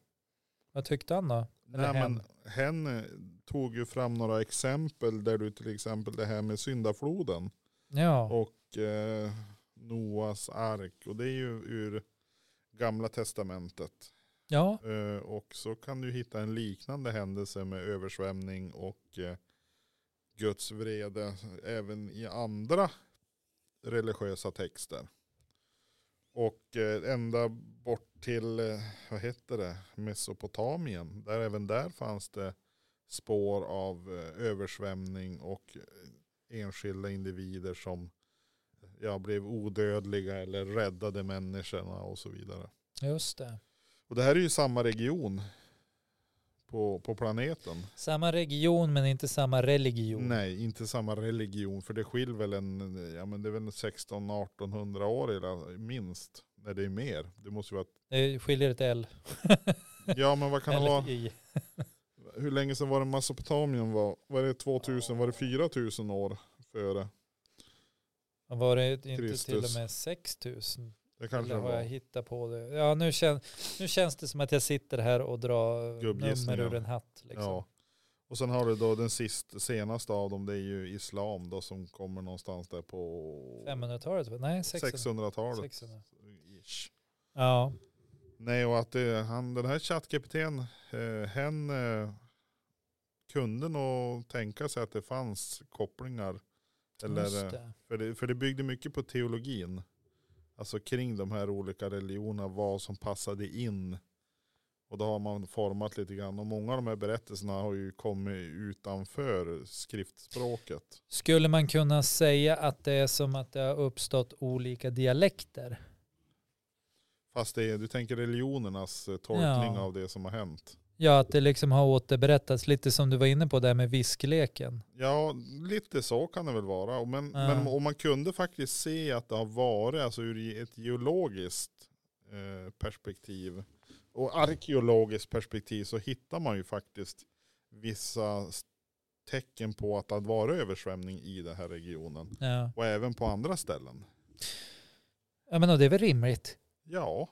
Speaker 2: vad tyckte han då? Eller
Speaker 1: Nej, men
Speaker 2: hen.
Speaker 1: hen eh, tog ju fram några exempel där du till exempel det här med syndafloden
Speaker 2: Ja,
Speaker 1: och eh, Noas ark och det är ju ur gamla testamentet.
Speaker 2: ja,
Speaker 1: Eh, och så kan du hitta en liknande händelse med översvämning och eh, Guds vrede även i andra religiösa texter. Och eh, ända bort till, eh, vad heter det, Mesopotamien. Där även där fanns det spår av eh, översvämning och eh, enskilda individer som ja, blev odödliga eller räddade människorna och så vidare.
Speaker 2: just det.
Speaker 1: Och det här är ju samma region på, på planeten.
Speaker 2: Samma region men inte samma religion.
Speaker 1: Nej, inte samma religion. För det skiljer väl en, ja men det är väl en 16-1800 år eller minst. Nej det är mer. Det måste ju vara,
Speaker 2: Det skiljer ett L.
Speaker 1: ja men vad kan det
Speaker 2: Eller
Speaker 1: vara?
Speaker 2: ett I.
Speaker 1: Hur länge sedan var det Mesopotamien var? Var det 2000? Var det 4000 år före?
Speaker 2: Och Var det inte till
Speaker 1: Kristus.
Speaker 2: och med 6000?
Speaker 1: Det kanske
Speaker 2: Eller
Speaker 1: det
Speaker 2: har jag
Speaker 1: var.
Speaker 2: hittat på det? Ja, nu, kän, nu känns det som att jag sitter här och drar
Speaker 1: Gubbgissningar.
Speaker 2: nummer ur en hatt. Liksom.
Speaker 1: Ja. Och sen har du då den sist, senaste av dem, det är ju islam då som kommer någonstans där på
Speaker 2: 500-talet? va? typ? Nej, 600.
Speaker 1: 600-talet.
Speaker 2: 600.
Speaker 1: Ish.
Speaker 2: Ja.
Speaker 1: Nej, och att eh, han, den här ChatGPTn, eh, hen eh, kunde nog tänka sig att det fanns kopplingar. Eller,
Speaker 2: Just
Speaker 1: eh,
Speaker 2: det.
Speaker 1: för, det, för det byggde mycket på teologin. Alltså kring de här olika religionerna, vad som passade in. Och då har man format lite grann. Och många av de här berättelserna har ju kommit utanför skriftspråket.
Speaker 2: Skulle man kunna säga att det är som att det har uppstått olika dialekter?
Speaker 1: Fast det är, du tänker religionernas eh, tolkning
Speaker 2: Ja.
Speaker 1: av det som har hänt.
Speaker 2: Ja, att det liksom har återberättats lite som du var inne på där med viskleken.
Speaker 1: Ja, lite så kan det väl vara. Och Men,
Speaker 2: Ja.
Speaker 1: men om man kunde faktiskt se att det har varit, alltså ur ett geologiskt eh, perspektiv och arkeologiskt perspektiv så hittar man ju faktiskt vissa s- tecken på att det har varit översvämning i den här regionen.
Speaker 2: Ja,
Speaker 1: Och även på andra ställen.
Speaker 2: ja men och det är väl rimligt?
Speaker 1: Ja.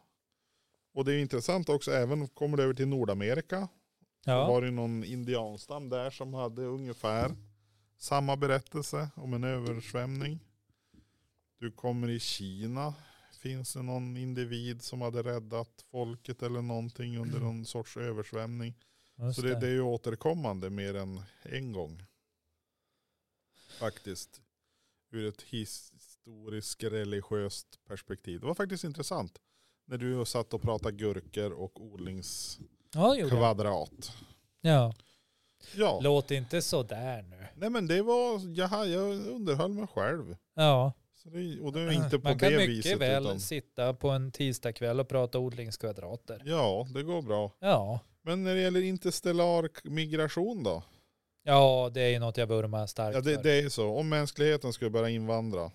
Speaker 1: Och det är ju intressant också, även kommer det över till Nordamerika
Speaker 2: Ja,
Speaker 1: var det någon indianstam där som hade ungefär samma berättelse om en översvämning. Du kommer i Kina. Finns det någon individ som hade räddat folket eller någonting under någon sorts översvämning?
Speaker 2: just
Speaker 1: Så det, det är ju återkommande mer än en gång. Faktiskt. Ur ett historiskt religiöst perspektiv. Det var faktiskt intressant. När du satt och pratade gurkor och odlingskvadrat.
Speaker 2: Ja, det gjorde jag. Ja.
Speaker 1: Ja.
Speaker 2: Låt inte sådär nu.
Speaker 1: Nej men det var, jaha, jag underhöll mig själv.
Speaker 2: Ja,
Speaker 1: Så det, och det är inte på
Speaker 2: Eh, Ah, Man kan
Speaker 1: det
Speaker 2: mycket
Speaker 1: viset.
Speaker 2: väl
Speaker 1: Utan,
Speaker 2: sitta på en tisdagkväll och prata odlingskvadrater.
Speaker 1: ja, det går bra.
Speaker 2: Ja.
Speaker 1: Men när det gäller interstellar k- migration då?
Speaker 2: ja, det är ju något jag vurmar starkt
Speaker 1: Ja, det,
Speaker 2: för.
Speaker 1: det är ju så. Om mänskligheten skulle börja invandra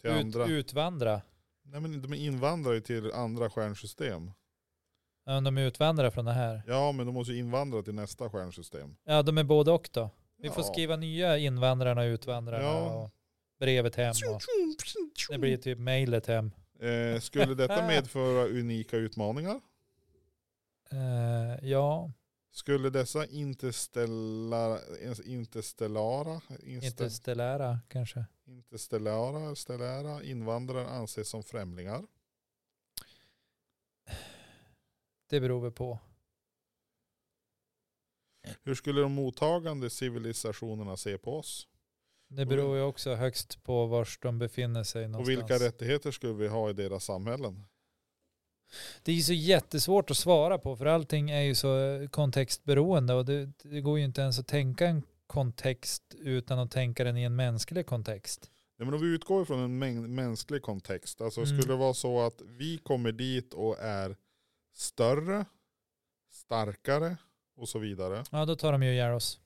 Speaker 1: till andra.
Speaker 2: Ut, utvandra.
Speaker 1: Nej men de invandrar ju till andra stjärnsystem.
Speaker 2: Ja, men De är utvandrare från det här.
Speaker 1: Ja men de måste ju invandra till nästa stjärnsystem.
Speaker 2: Ja, de är både och då. Vi får
Speaker 1: Ja.
Speaker 2: skriva nya invandrarna och utvandrarna
Speaker 1: Ja.
Speaker 2: och brevet hem. Och det blir typ mejlet hem.
Speaker 1: Eh, skulle detta medföra unika utmaningar?
Speaker 2: Eh, ja,
Speaker 1: Skulle dessa interstellara, interstellara, inste,
Speaker 2: interstellära kanske.
Speaker 1: interstellara stellära invandrare anses som främlingar?
Speaker 2: Det beror väl på.
Speaker 1: Hur skulle de mottagande civilisationerna se på oss?
Speaker 2: Det beror ju också högst på vars de befinner sig
Speaker 1: Mm. Och
Speaker 2: någonstans.
Speaker 1: vilka rättigheter skulle vi ha i deras samhällen?
Speaker 2: Det är ju så jättesvårt att svara på för allting är ju så eh, kontextberoende och det, det går ju inte ens att tänka en kontext utan att tänka den i en mänsklig kontext.
Speaker 1: Nej, men om vi utgår från en mäng- mänsklig kontext, alltså
Speaker 2: Mm.
Speaker 1: skulle det vara så att vi kommer dit och är större, starkare och så vidare.
Speaker 2: Ja, då tar de ju ihjäl oss.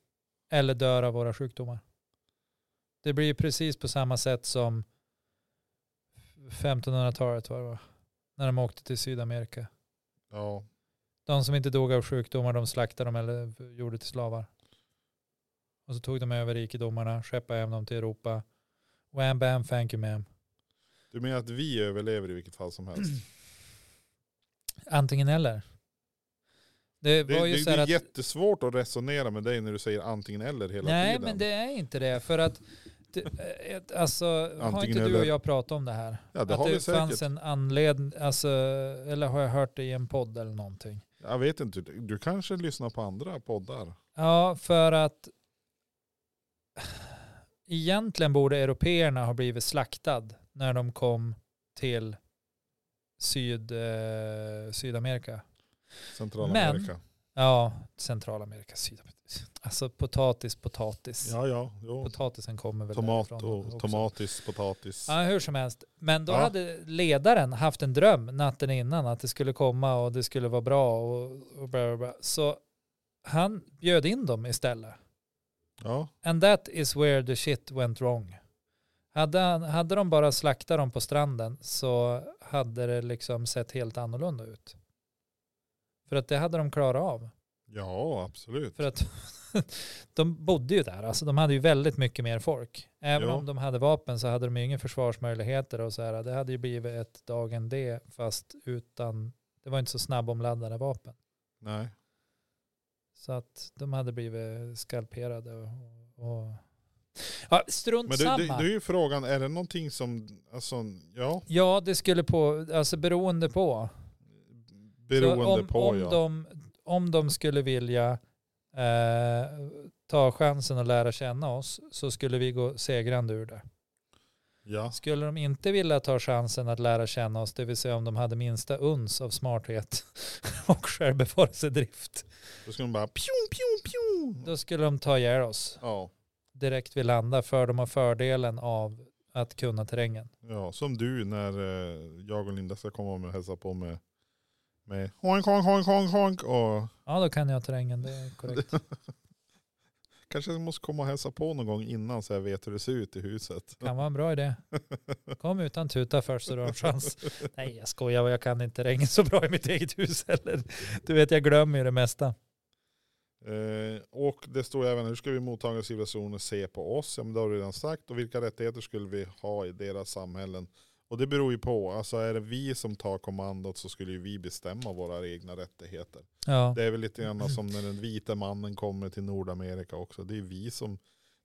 Speaker 2: Eller dör av våra sjukdomar. Det blir ju precis på samma sätt som 1500-talet var det va? När de åkte till Sydamerika.
Speaker 1: Ja,
Speaker 2: De som inte dog av sjukdomar, de slaktade dem eller gjorde till slavar. Och så tog de över rikedomarna, skeppade hem dem till Europa. Wham bam, thank you ma'am.
Speaker 1: du menar att vi överlever i vilket fall som helst?
Speaker 2: Mm. Antingen eller. Det
Speaker 1: Det,
Speaker 2: var ju
Speaker 1: det,
Speaker 2: så
Speaker 1: det
Speaker 2: här
Speaker 1: är
Speaker 2: att...
Speaker 1: jättesvårt att resonera med dig när du säger antingen eller hela
Speaker 2: Nej,
Speaker 1: tiden.
Speaker 2: men det är inte det. För att... Det, eh, ett- alltså, har
Speaker 1: Antingen
Speaker 2: inte du
Speaker 1: eller.
Speaker 2: och jag pratat om det här?
Speaker 1: ja, det
Speaker 2: att
Speaker 1: har
Speaker 2: det
Speaker 1: vi
Speaker 2: fanns
Speaker 1: säkert.
Speaker 2: en anledning, alltså, eller har jag hört det i en podd eller någonting?
Speaker 1: Jag vet inte, du, du kanske lyssnar på andra poddar.
Speaker 2: Ja, för att egentligen borde européerna ha blivit slaktad när de kom till Syd, eh, Sydamerika.
Speaker 1: Centralamerika.
Speaker 2: Ja, Centralamerika, Sydamerika. Alltså potatis, potatis.
Speaker 1: Ja, ja. Jo.
Speaker 2: Potatisen kommer väl
Speaker 1: Tomat
Speaker 2: därifrån också.
Speaker 1: och tomatis, potatis.
Speaker 2: Ja, hur som helst. Men då
Speaker 1: Ja.
Speaker 2: hade ledaren haft en dröm natten innan att det skulle komma och det skulle vara bra och, och bla, bla, bla. Så han bjöd in dem istället.
Speaker 1: Ja,
Speaker 2: And that is where the shit went wrong. Hade, han- hade de bara slaktat dem på stranden så hade det liksom sett helt annorlunda ut. För att det hade de klarat av.
Speaker 1: ja absolut.
Speaker 2: För att de bodde ju där, alltså de hade ju väldigt mycket mer folk. Även
Speaker 1: Ja.
Speaker 2: om de hade vapen så hade de ju inga försvarsmöjligheter och så här. Det hade ju blivit ett dagen D fast utan, det var inte så snabbomladdade vapen.
Speaker 1: Nej.
Speaker 2: Så att de hade blivit skalperade och, och ja, strunt
Speaker 1: Men du,
Speaker 2: samma.
Speaker 1: du, är ju frågan, är det någonting som, alltså, ja,
Speaker 2: Ja, det skulle på, alltså beroende på.
Speaker 1: beroende
Speaker 2: Så om,
Speaker 1: på
Speaker 2: om
Speaker 1: ja.
Speaker 2: De, om de skulle vilja eh, ta chansen och lära känna oss så skulle vi gå segrande ur det.
Speaker 1: ja.
Speaker 2: Skulle de inte vilja ta chansen att lära känna oss, det vill säga om de hade minsta uns av smarthet och självbevarelsedrift,
Speaker 1: Då ska de bara pjong, pjong, pjong.
Speaker 2: då skulle de ta ihjäl oss
Speaker 1: Ja,
Speaker 2: direkt vi landar för de har fördelen av att kunna terrängen.
Speaker 1: ja, som du när eh, jag och Linda ska komma med och hälsa på med, med honk, honk, honk, honk, honk. Och
Speaker 2: Ja, då kan jag terrängen, det är korrekt.
Speaker 1: kanske jag måste komma och hälsa på någon gång innan så jag vet hur det ser ut i huset.
Speaker 2: kan vara en bra idé. Kom utan tuta först så du har en chans. Nej, jag skojar och jag kan inte terrängen så bra i mitt eget hus heller. Du vet, jag glömmer ju det mesta.
Speaker 1: Eh, och det står även, hur ska vi mottagande civilisationer se på oss? Ja, men det har du redan sagt. Och vilka rättigheter skulle vi ha i deras samhällen? Och det beror ju på, alltså är det vi som tar kommandot så skulle ju vi bestämma våra egna rättigheter.
Speaker 2: Ja,
Speaker 1: Det är väl lite grann som när den vita mannen kommer till Nordamerika också. Det är vi som,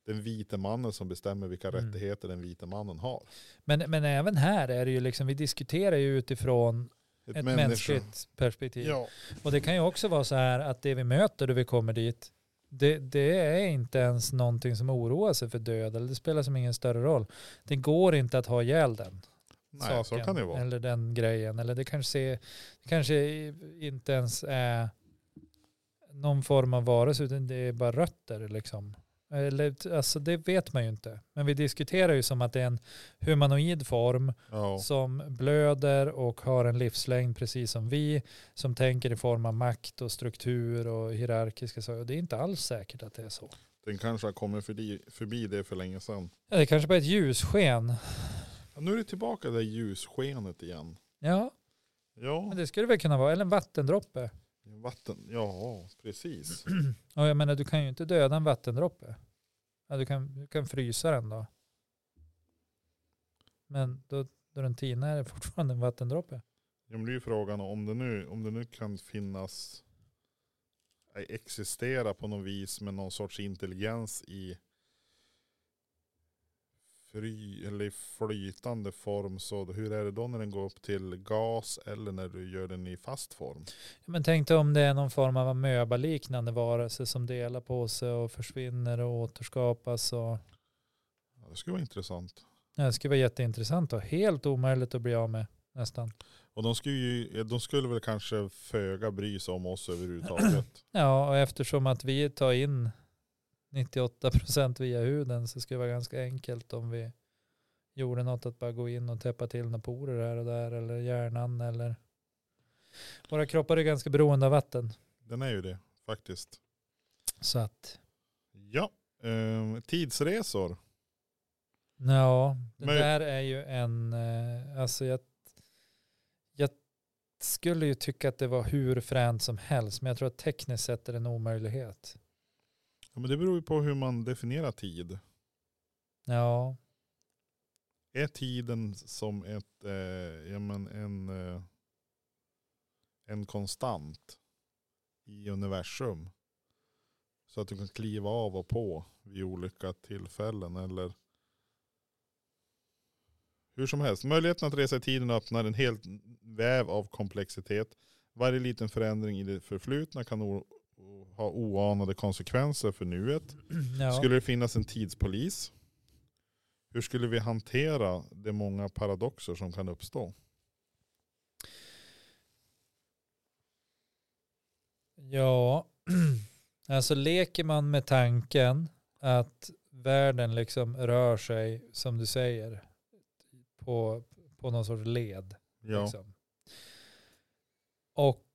Speaker 1: den vita mannen som bestämmer vilka
Speaker 2: Mm.
Speaker 1: rättigheter den vita mannen har.
Speaker 2: men, men även här är det ju liksom, vi diskuterar ju utifrån ett,
Speaker 1: människa-
Speaker 2: mänskligt perspektiv.
Speaker 1: Ja,
Speaker 2: Och det kan ju också vara så här att det vi möter då vi kommer dit, det, det är inte ens någonting som oroar sig för död, eller det spelar som ingen större roll. Det går inte att ha ihjäl den
Speaker 1: nej, så
Speaker 2: saken,
Speaker 1: kan det vara.
Speaker 2: eller den grejen, eller det kanske, ser- det kanske inte ens är någon form av varelse, utan det är bara rötter liksom. Eller, alltså det vet man ju inte. Men vi diskuterar ju som att det är en humanoid form
Speaker 1: Ja.
Speaker 2: som blöder och har en livslängd precis som vi. Som tänker i form av makt och struktur och hierarkiska saker. Och Det är inte alls säkert att det är så.
Speaker 1: Den kanske har kommit förbi, förbi det för länge sedan.
Speaker 2: Ja, det är kanske bara är ett ljussken.
Speaker 1: Ja, nu är det tillbaka det där ljusskenet igen.
Speaker 2: Ja,
Speaker 1: Ja,
Speaker 2: men det skulle det väl kunna vara. Eller en vattendroppe.
Speaker 1: vatten. Ja, precis.
Speaker 2: Och jag menar, du kan ju inte döda en vattendroppe. Ja, du, kan, du kan frysa den då. Men då, då den tinar är det fortfarande en vattendroppe.
Speaker 1: Ja, men det är ju frågan om det nu, om det nu kan finnas, eh, existera på något vis med någon sorts intelligens i fry, eller i flytande form. Så hur är det då när den går upp till gas eller när du gör den i fast form?
Speaker 2: Ja, Men tänk dig om det är någon form av amöba-liknande varelse som delar på sig och försvinner och återskapas. Och...
Speaker 1: Ja, det skulle vara intressant.
Speaker 2: Ja, det skulle vara jätteintressant och helt omöjligt att bli av med nästan.
Speaker 1: Och de skulle, ju, de skulle väl kanske föga bry sig om oss överhuvudtaget.
Speaker 2: Ja, och eftersom att vi tar in 98% via huden så skulle det vara ganska enkelt om vi gjorde något att bara gå in och täppa till några porer här och där eller hjärnan eller våra kroppar är ganska beroende av vatten.
Speaker 1: Den är ju det faktiskt.
Speaker 2: Så att
Speaker 1: Ja, ehm, tidsresor.
Speaker 2: ja, det
Speaker 1: Men-
Speaker 2: där är ju en, eh, alltså jag, jag skulle ju tycka att det var hur fränt som helst men jag tror att tekniskt sett är det en omöjlighet.
Speaker 1: Ja, men det beror ju på hur man definierar tid.
Speaker 2: Ja,
Speaker 1: är tiden som ett, eh, ja, men en, eh, en konstant i universum. Så att du kan kliva av och på vid olika tillfällen. Eller hur som helst. Möjligheten att resa i tiden öppnar en hel väv av komplexitet. Varje liten förändring i det förflutna kan o- o- ha oanade konsekvenser för nuet.
Speaker 2: Mm, ja.
Speaker 1: Skulle det finnas en tidspolis? Hur skulle vi hantera de många paradoxer som kan uppstå?
Speaker 2: Ja, alltså leker man med tanken att världen liksom rör sig, som du säger, på, på någon sorts led.
Speaker 1: Ja,
Speaker 2: Liksom. Och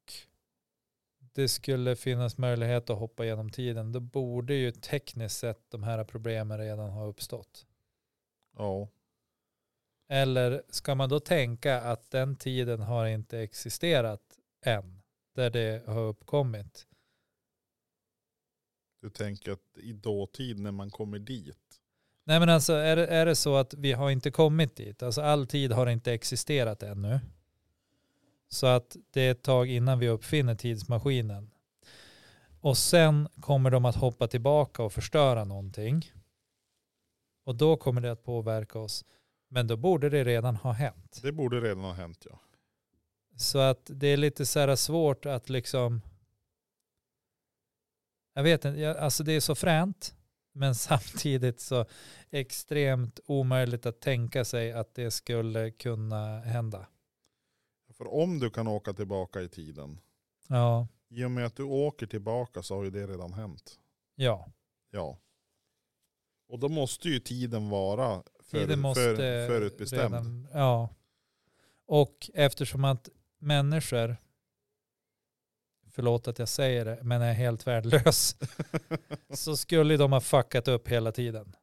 Speaker 2: det skulle finnas möjlighet att hoppa genom tiden, då borde ju tekniskt sett de här problemen redan ha uppstått.
Speaker 1: ja,
Speaker 2: Eller ska man då tänka att den tiden har inte existerat än, där det har uppkommit?
Speaker 1: du tänker att i dåtid när man kommer dit.
Speaker 2: Nej men alltså är det, är det så att vi har inte kommit dit? Alltså all tid har inte existerat ännu. Så att det är ett tag innan vi uppfinner tidsmaskinen. Och sen kommer de att hoppa tillbaka och förstöra någonting. Och då kommer det att påverka oss. Men då borde det redan ha hänt.
Speaker 1: Det borde redan ha hänt ja.
Speaker 2: Så att det är lite så här svårt att liksom... Jag vet inte, jag, alltså det är så fränt. Men samtidigt så extremt omöjligt att tänka sig att det skulle kunna hända.
Speaker 1: För om du kan åka tillbaka i tiden,
Speaker 2: Ja,
Speaker 1: i och med att du åker tillbaka så har ju det redan hänt.
Speaker 2: ja.
Speaker 1: Ja. Och då måste ju tiden vara för,
Speaker 2: Tiden måste
Speaker 1: för, förutbestämd.
Speaker 2: redan- ja. Och eftersom att människor, förlåt att jag säger det, men är helt värdelös, så skulle de ha fuckat upp hela tiden.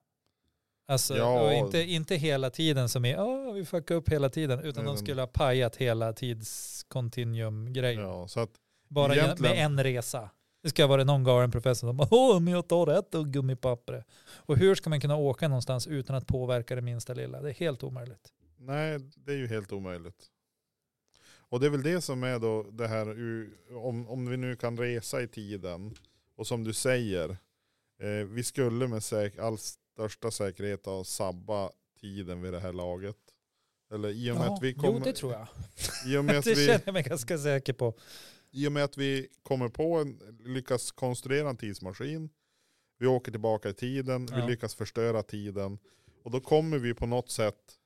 Speaker 2: Alltså,
Speaker 1: Ja.
Speaker 2: och inte, inte hela tiden som är, "Åh, vi fuckar upp hela tiden, utan
Speaker 1: Nej,
Speaker 2: de
Speaker 1: men-
Speaker 2: skulle ha pajat hela tidskontinuum-grejen.
Speaker 1: Ja, så att
Speaker 2: Bara gen-
Speaker 1: egentligen-
Speaker 2: med en resa. Det ska vara någon galen professor som bara, åh, men jag tar ett och gummipappret. Och hur ska man kunna åka någonstans utan att påverka det minsta lilla? Det är helt omöjligt.
Speaker 1: Nej, det är ju helt omöjligt. Och det är väl det som är då det här, ur- om, om vi nu kan resa i tiden, och som du säger, eh, vi skulle med säk all största säkerhet ha sabba tiden vid det här laget. Eller i och med att vi kommer,
Speaker 2: jo, det tror jag.
Speaker 1: I och med att
Speaker 2: Det
Speaker 1: vi,
Speaker 2: känner jag mig ganska säker på.
Speaker 1: i och med att vi kommer på en, lyckas konstruera en tidsmaskin, vi åker tillbaka i tiden,
Speaker 2: Ja.
Speaker 1: vi lyckas förstöra tiden, och då kommer vi på något sätt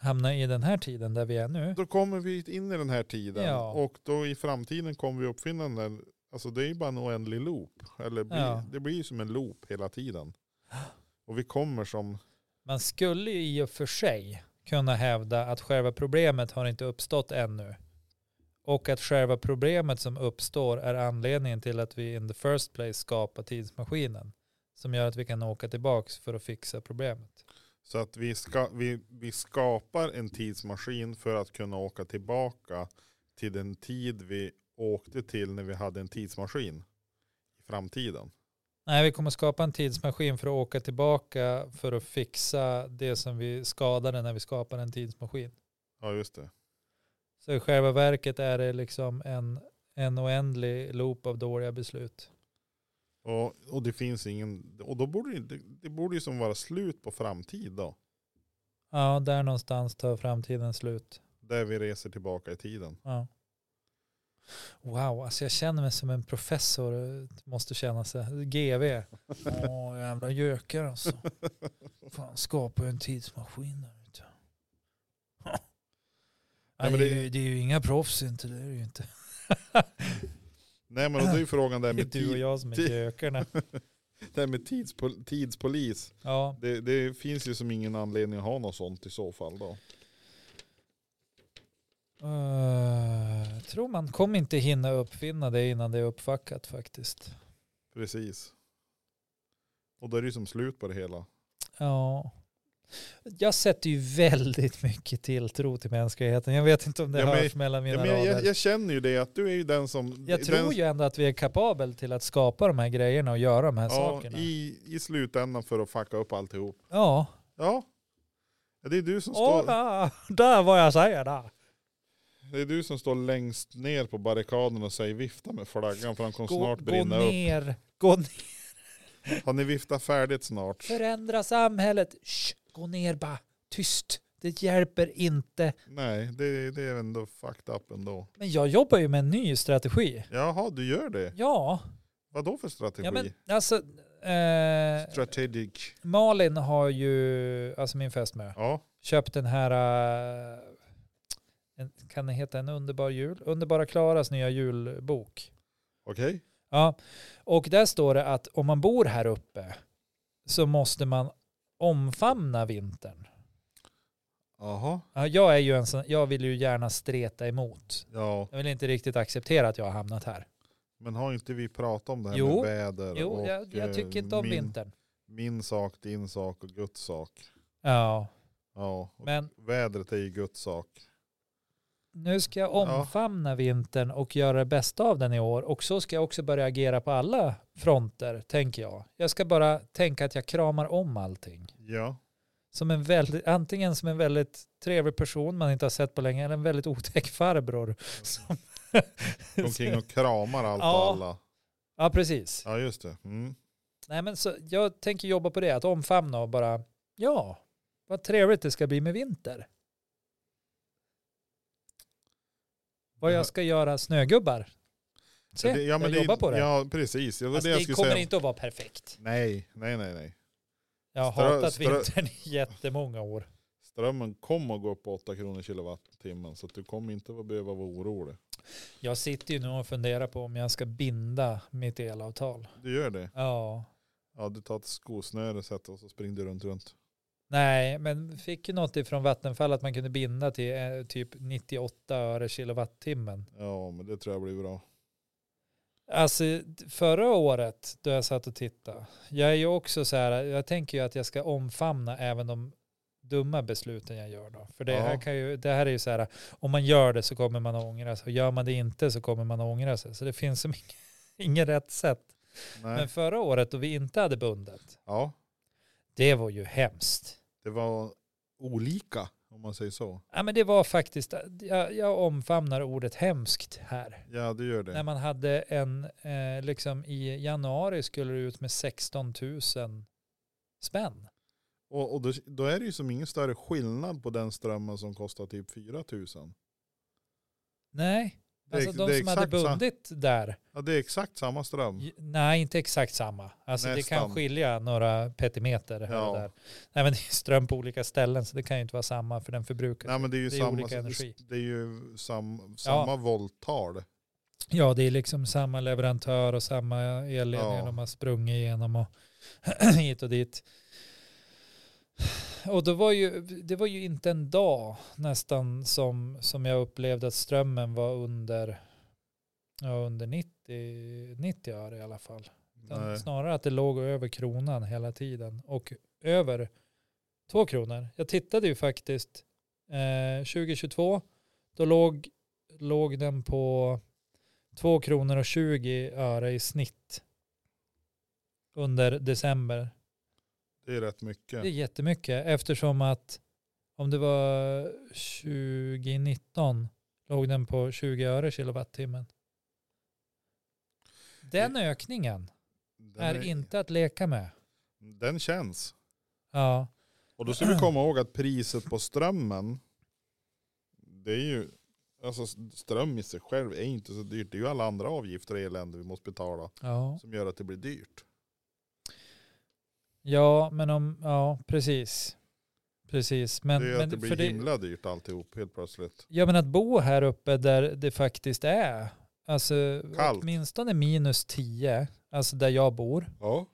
Speaker 2: Hamna i den här tiden där vi är nu.
Speaker 1: Då kommer vi in i den här tiden
Speaker 2: Ja.
Speaker 1: och då i framtiden kommer vi uppfinna den där Alltså det är ju bara en oändlig loop. Eller blir,
Speaker 2: Ja.
Speaker 1: det blir ju som en loop hela tiden. Och vi kommer som,
Speaker 2: Man skulle ju i och för sig kunna hävda att själva problemet har inte uppstått ännu. Och att själva problemet som uppstår är anledningen till att vi in the first place skapar tidsmaskinen. Som gör att vi kan åka tillbaks för att fixa problemet.
Speaker 1: så att vi, ska, vi, vi skapar en tidsmaskin för att kunna åka tillbaka till den tid vi åkte till när vi hade en tidsmaskin i framtiden.
Speaker 2: Nej, vi kommer skapa en tidsmaskin för att åka tillbaka för att fixa det som vi skadade när vi skapade en tidsmaskin.
Speaker 1: Ja just det.
Speaker 2: Så i själva verket är det liksom en, en oändlig loop av dåliga beslut.
Speaker 1: Och, och det finns ingen, och då borde det, det- det borde ju som vara slut på framtid då.
Speaker 2: Ja, där någonstans tar framtiden slut.
Speaker 1: Där vi reser tillbaka i tiden.
Speaker 2: Ja. Wow, alltså jag känner mig som en professor eh, måste känna sig. GV. Åh, jävla gökar alltså. Fan, skapar ju en tidsmaskin där ute.
Speaker 1: Nej,
Speaker 2: Nej,
Speaker 1: men
Speaker 2: det,
Speaker 1: det-
Speaker 2: är ju, det är ju inga proffs inte, det är det ju inte.
Speaker 1: Nej men och då är ju frågan där
Speaker 2: Det är
Speaker 1: med,
Speaker 2: du och
Speaker 1: tid,
Speaker 2: jag som är
Speaker 1: tid-
Speaker 2: gökarna.
Speaker 1: där med tidspol, tidspolis.
Speaker 2: Ja,
Speaker 1: Det, det finns ju som ingen anledning att ha något sånt i så fall då.
Speaker 2: Eh, tror man kommer inte hinna uppfinna det innan det är uppfackat faktiskt.
Speaker 1: Precis. Och då är det ju som slut på det hela.
Speaker 2: Ja. Jag sätter ju väldigt mycket tilltro till mänskligheten. Jag vet inte om det
Speaker 1: Ja, men-
Speaker 2: hörs mellan mina
Speaker 1: Ja, men
Speaker 2: rader.
Speaker 1: jag, jag,
Speaker 2: Jag,
Speaker 1: jag känner ju det att du är ju den som... den,
Speaker 2: tror ju ändå att vi är kapabel till att skapa de här grejerna och göra de här
Speaker 1: ja,
Speaker 2: sakerna.
Speaker 1: i, I slutändan för att fucka upp alltihop.
Speaker 2: Ja.
Speaker 1: Ja. Ja, Det är, du som
Speaker 2: Åh,
Speaker 1: står,
Speaker 2: där- där var jag säger där.
Speaker 1: det är du som står längst ner på barrikaden och säger vifta med flaggan för han kommer
Speaker 2: Gå,
Speaker 1: snart
Speaker 2: gå
Speaker 1: brinna upp.
Speaker 2: ner. Gå ner.
Speaker 1: Har ni viftat färdigt snart?
Speaker 2: Förändra samhället. Shh, gå ner bara. Tyst. Det hjälper inte.
Speaker 1: Nej, det, det är ändå fucked up ändå.
Speaker 2: Men jag jobbar ju med en ny strategi.
Speaker 1: Jaha, du gör det.
Speaker 2: Ja.
Speaker 1: Vad då för strategi?
Speaker 2: Ja, men, alltså, eh,
Speaker 1: Strategic.
Speaker 2: Malin har ju, alltså min fästmö,
Speaker 1: Ja,
Speaker 2: köpt den här, eh, en, kan den heta en underbar jul? Underbara Klaras nya julbok.
Speaker 1: okej.
Speaker 2: Ja, och där står det att om man bor här uppe så måste man omfamna vintern.
Speaker 1: Jaha.
Speaker 2: Ja, Jag, är ju en sån, jag vill ju gärna streta emot.
Speaker 1: Ja,
Speaker 2: Jag vill inte riktigt acceptera att jag har hamnat här.
Speaker 1: men har inte vi pratat om det här med
Speaker 2: Jo.
Speaker 1: väder?
Speaker 2: Jo,
Speaker 1: och,
Speaker 2: jag, jag
Speaker 1: eh,
Speaker 2: tycker inte om
Speaker 1: min,
Speaker 2: vintern.
Speaker 1: Min sak, din sak och Guds sak.
Speaker 2: Ja,
Speaker 1: Ja, och
Speaker 2: men
Speaker 1: vädret är ju Guds sak.
Speaker 2: Nu ska jag
Speaker 1: Ja.
Speaker 2: omfamna vintern och göra det bästa av den i år och så ska jag också börja agera på alla fronter, tänker jag. Jag ska bara tänka att jag kramar om allting.
Speaker 1: Ja,
Speaker 2: Som en väldigt, antingen som en väldigt trevlig person man inte har sett på länge eller en väldigt otäck farbror. Som
Speaker 1: går omkring och kramar allt
Speaker 2: Ja.
Speaker 1: och alla.
Speaker 2: ja, precis.
Speaker 1: Ja, just det. Mm.
Speaker 2: Nej, men så, jag tänker jobba på det, att omfamna och bara, ja, vad trevligt det ska bli med vinter. Vad jag ska göra snögubbar. Se,
Speaker 1: Det-
Speaker 2: Eh, jag jobbar på det.
Speaker 1: Ja, precis. Det var
Speaker 2: Fast
Speaker 1: det jag
Speaker 2: Alltså, det
Speaker 1: skulle
Speaker 2: kommer
Speaker 1: säga.
Speaker 2: inte att vara perfekt.
Speaker 1: Nej, nej, nej, nej.
Speaker 2: Jag har
Speaker 1: Strö-
Speaker 2: hatat
Speaker 1: strö-
Speaker 2: vintern i jättemånga år.
Speaker 1: Strömmen kommer att gå upp på 8 kronor kilowattimmen så att du kommer inte att behöva vara orolig.
Speaker 2: Jag sitter ju nu och funderar på om jag ska binda mitt elavtal.
Speaker 1: Du gör det.
Speaker 2: Ja.
Speaker 1: Ja, du tar ett skosnöre sätter och så springer du runt runt.
Speaker 2: Nej, men fick ju något ifrån Vattenfall att man kunde binda till eh, typ 98 öre kilowattimmen.
Speaker 1: Ja, men det tror jag blir bra.
Speaker 2: Alltså förra året då jag satt och tittade. Jag är ju också så här, jag tänker ju att jag ska omfamna även de dumma besluten jag gör då. För det,
Speaker 1: Ja.
Speaker 2: här, kan ju, det här är ju så här, om man gör det så kommer man att ångra sig. Och gör man det inte så kommer man att ångra sig. Så det finns som ingen, ingen rätt sätt.
Speaker 1: Nej.
Speaker 2: Men förra året då vi inte hade bundet,
Speaker 1: Ja,
Speaker 2: det var ju hemskt.
Speaker 1: det var olika om man säger så.
Speaker 2: Ja, men det var faktiskt, jag, jag omfamnar ordet hemskt här.
Speaker 1: Ja, du gör
Speaker 2: När
Speaker 1: det.
Speaker 2: man hade en, eh, liksom i januari skulle det ut med 16 000 spänn.
Speaker 1: Och, och då, då är det ju som ingen större skillnad på den strömmen som kostar typ 4 000.
Speaker 2: Nej,
Speaker 1: Det är-
Speaker 2: alltså de
Speaker 1: det är
Speaker 2: som hade
Speaker 1: exakt sa- Mm.
Speaker 2: bundit där,
Speaker 1: Ja, det är exakt samma ström.
Speaker 2: j- nej inte exakt samma. Alltså det
Speaker 1: Nästan.
Speaker 2: kan skilja några petimeter här
Speaker 1: Ja.
Speaker 2: och där. Nej men det är ström på olika ställen så det kan ju inte vara samma för den förbrukas.
Speaker 1: Nej, men det är ju
Speaker 2: det är
Speaker 1: samma,
Speaker 2: olika energi.
Speaker 1: det är ju sam, samma volttal.
Speaker 2: Ja, det är liksom samma leverantör och samma elledningar
Speaker 1: Ja.
Speaker 2: de har sprungit igenom och hit och dit. Och då var ju, det var ju inte en dag nästan som, som jag upplevde att strömmen var under, ja, under 90, 90 öre i alla fall. Utan
Speaker 1: Nej.
Speaker 2: Snarare att det låg över kronan hela tiden och över två kronor. Jag tittade ju faktiskt eh, 2022, då låg, låg den på två kronor och 20 öre i snitt under december.
Speaker 1: Det är rätt
Speaker 2: Det är
Speaker 1: mycket.
Speaker 2: jättemycket eftersom att om det var 2019 låg den på 20 öre kilowattimmen. Den ökningen
Speaker 1: Den,
Speaker 2: är inte att leka med.
Speaker 1: den känns.
Speaker 2: Ja,
Speaker 1: Och då ska vi komma ihåg att priset på strömmen, det är ju, alltså ström i sig själv är inte så dyrt. Det är ju alla andra avgifter och elände vi måste betala
Speaker 2: ja.
Speaker 1: som gör att det blir dyrt.
Speaker 2: ja men om, ja precis. Precis, men,
Speaker 1: det är ju
Speaker 2: men
Speaker 1: att det blir
Speaker 2: för det,
Speaker 1: himla dyrt alltihop helt plötsligt.
Speaker 2: Ja men att bo här uppe där det faktiskt är, alltså
Speaker 1: Kallt.
Speaker 2: åtminstone minus 10, alltså där jag bor,
Speaker 1: Ja.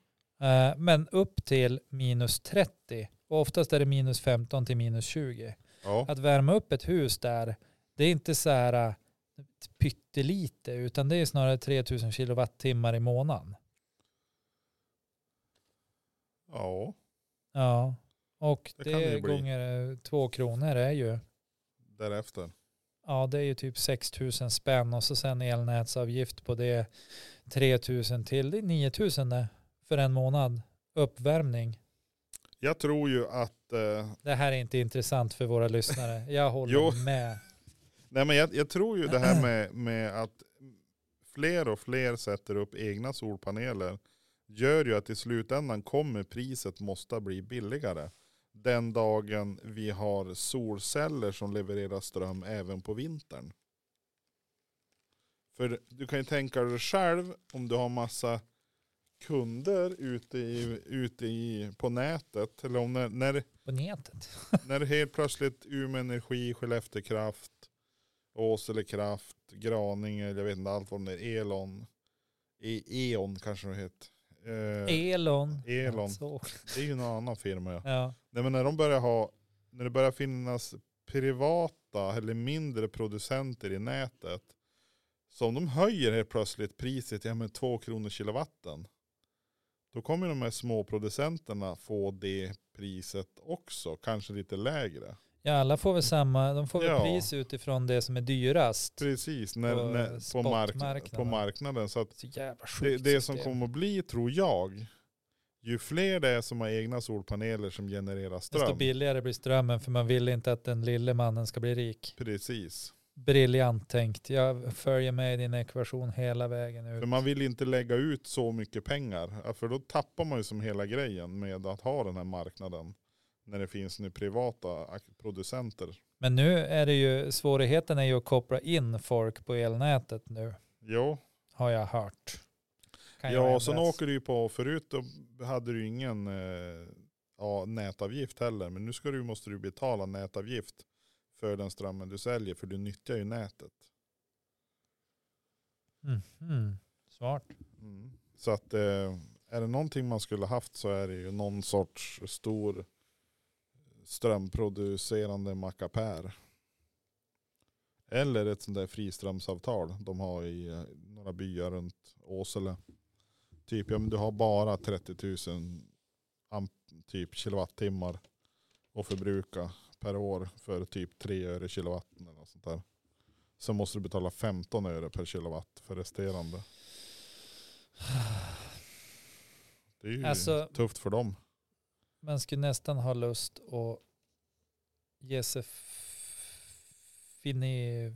Speaker 2: eh, men upp till minus 30 och oftast är det minus 15 till minus 20.
Speaker 1: Ja.
Speaker 2: Att värma upp ett hus där, det är inte så här eh, pyttelite utan det är snarare 3000 kilowattimmar i månaden.
Speaker 1: ja.
Speaker 2: Ja, och
Speaker 1: Det
Speaker 2: det,
Speaker 1: kan det ju bli.
Speaker 2: gånger eh, två kronor är ju
Speaker 1: Därefter.
Speaker 2: Ja, det är ju typ 6 000 spänn och så sen elnätsavgift på det 3 000 till. Det är 9 000 det för en månad. Uppvärmning.
Speaker 1: Jag tror ju att, eh,
Speaker 2: Det här är inte intressant för våra lyssnare. Jag håller
Speaker 1: Jo.
Speaker 2: med.
Speaker 1: nej men jag, jag tror ju det här med, med att fler och fler sätter upp egna solpaneler gör ju att i slutändan kommer priset måste bli billigare. Den dagen vi har solceller som levererar ström även på vintern. För du kan ju tänka dig själv om du har massa kunder ute, i, ute i, på nätet. Eller om när, när
Speaker 2: På nätet.
Speaker 1: När helt plötsligt Umeå Energi, Skellefteå Kraft, Åsele Kraft, Graninge, jag vet inte allt vad de är, Elon, e Eon kanske de heter.
Speaker 2: E-
Speaker 1: Eh,
Speaker 2: Elon.
Speaker 1: Elon.
Speaker 2: Alltså.
Speaker 1: det är ju någon annan firma ja.
Speaker 2: Ja.
Speaker 1: Nej men när de börjar ha, när det börjar finnas privata eller mindre producenter i nätet som de höjer helt plötsligt priset, ja men två kronor kilowatten. Då kommer de här små producenterna få det priset också, kanske lite lägre.
Speaker 2: ja, alla får väl samma. De får väl
Speaker 1: Ja.
Speaker 2: pris utifrån det som är dyrast.
Speaker 1: Precis, när,
Speaker 2: På
Speaker 1: när, på, mark,
Speaker 2: spotmarknaden.
Speaker 1: på marknaden. Så att
Speaker 2: Så jävla
Speaker 1: det,
Speaker 2: sjukt.
Speaker 1: det som
Speaker 2: system.
Speaker 1: kommer att bli, tror jag, ju fler det är som har egna solpaneler som genererar
Speaker 2: Desto
Speaker 1: ström.
Speaker 2: billigare blir strömmen för man vill inte att den lille mannen ska bli rik.
Speaker 1: Precis.
Speaker 2: Briljant tänkt. Jag följer med i din ekvation hela vägen ut.
Speaker 1: För man vill inte lägga ut så mycket pengar. Ja, För då tappar man ju som hela grejen med att ha den här marknaden. När det finns nu privata ak- producenter.
Speaker 2: Men nu är det ju, svårigheten är ju att koppla in folk på elnätet nu,
Speaker 1: Jo,
Speaker 2: har jag hört. Kan jag
Speaker 1: ja, sen
Speaker 2: ändras?
Speaker 1: åker du ju på, förut då hade du ingen eh, ja, nätavgift heller, men nu ska du, måste du betala nätavgift för den strömmen du säljer, för du nyttjar ju nätet.
Speaker 2: Mhm. Smart.
Speaker 1: Mm. Så att eh, är det någonting man skulle haft så är det ju någon sorts stor strömproducerande mackapär. Eller ett sånt där friströmsavtal de har i eh, några byar runt Åsele. Typ, ja men du har bara 30 000 amp, typ kilowattimmar att förbruka per år för typ 3 öre kilowatten eller något sånt där. Sen måste du betala 15 öre per kilowatt för resterande. Det är ju
Speaker 2: Alltså-
Speaker 1: tufft för dem.
Speaker 2: Man skulle nästan ha lust att ge sig f- finni,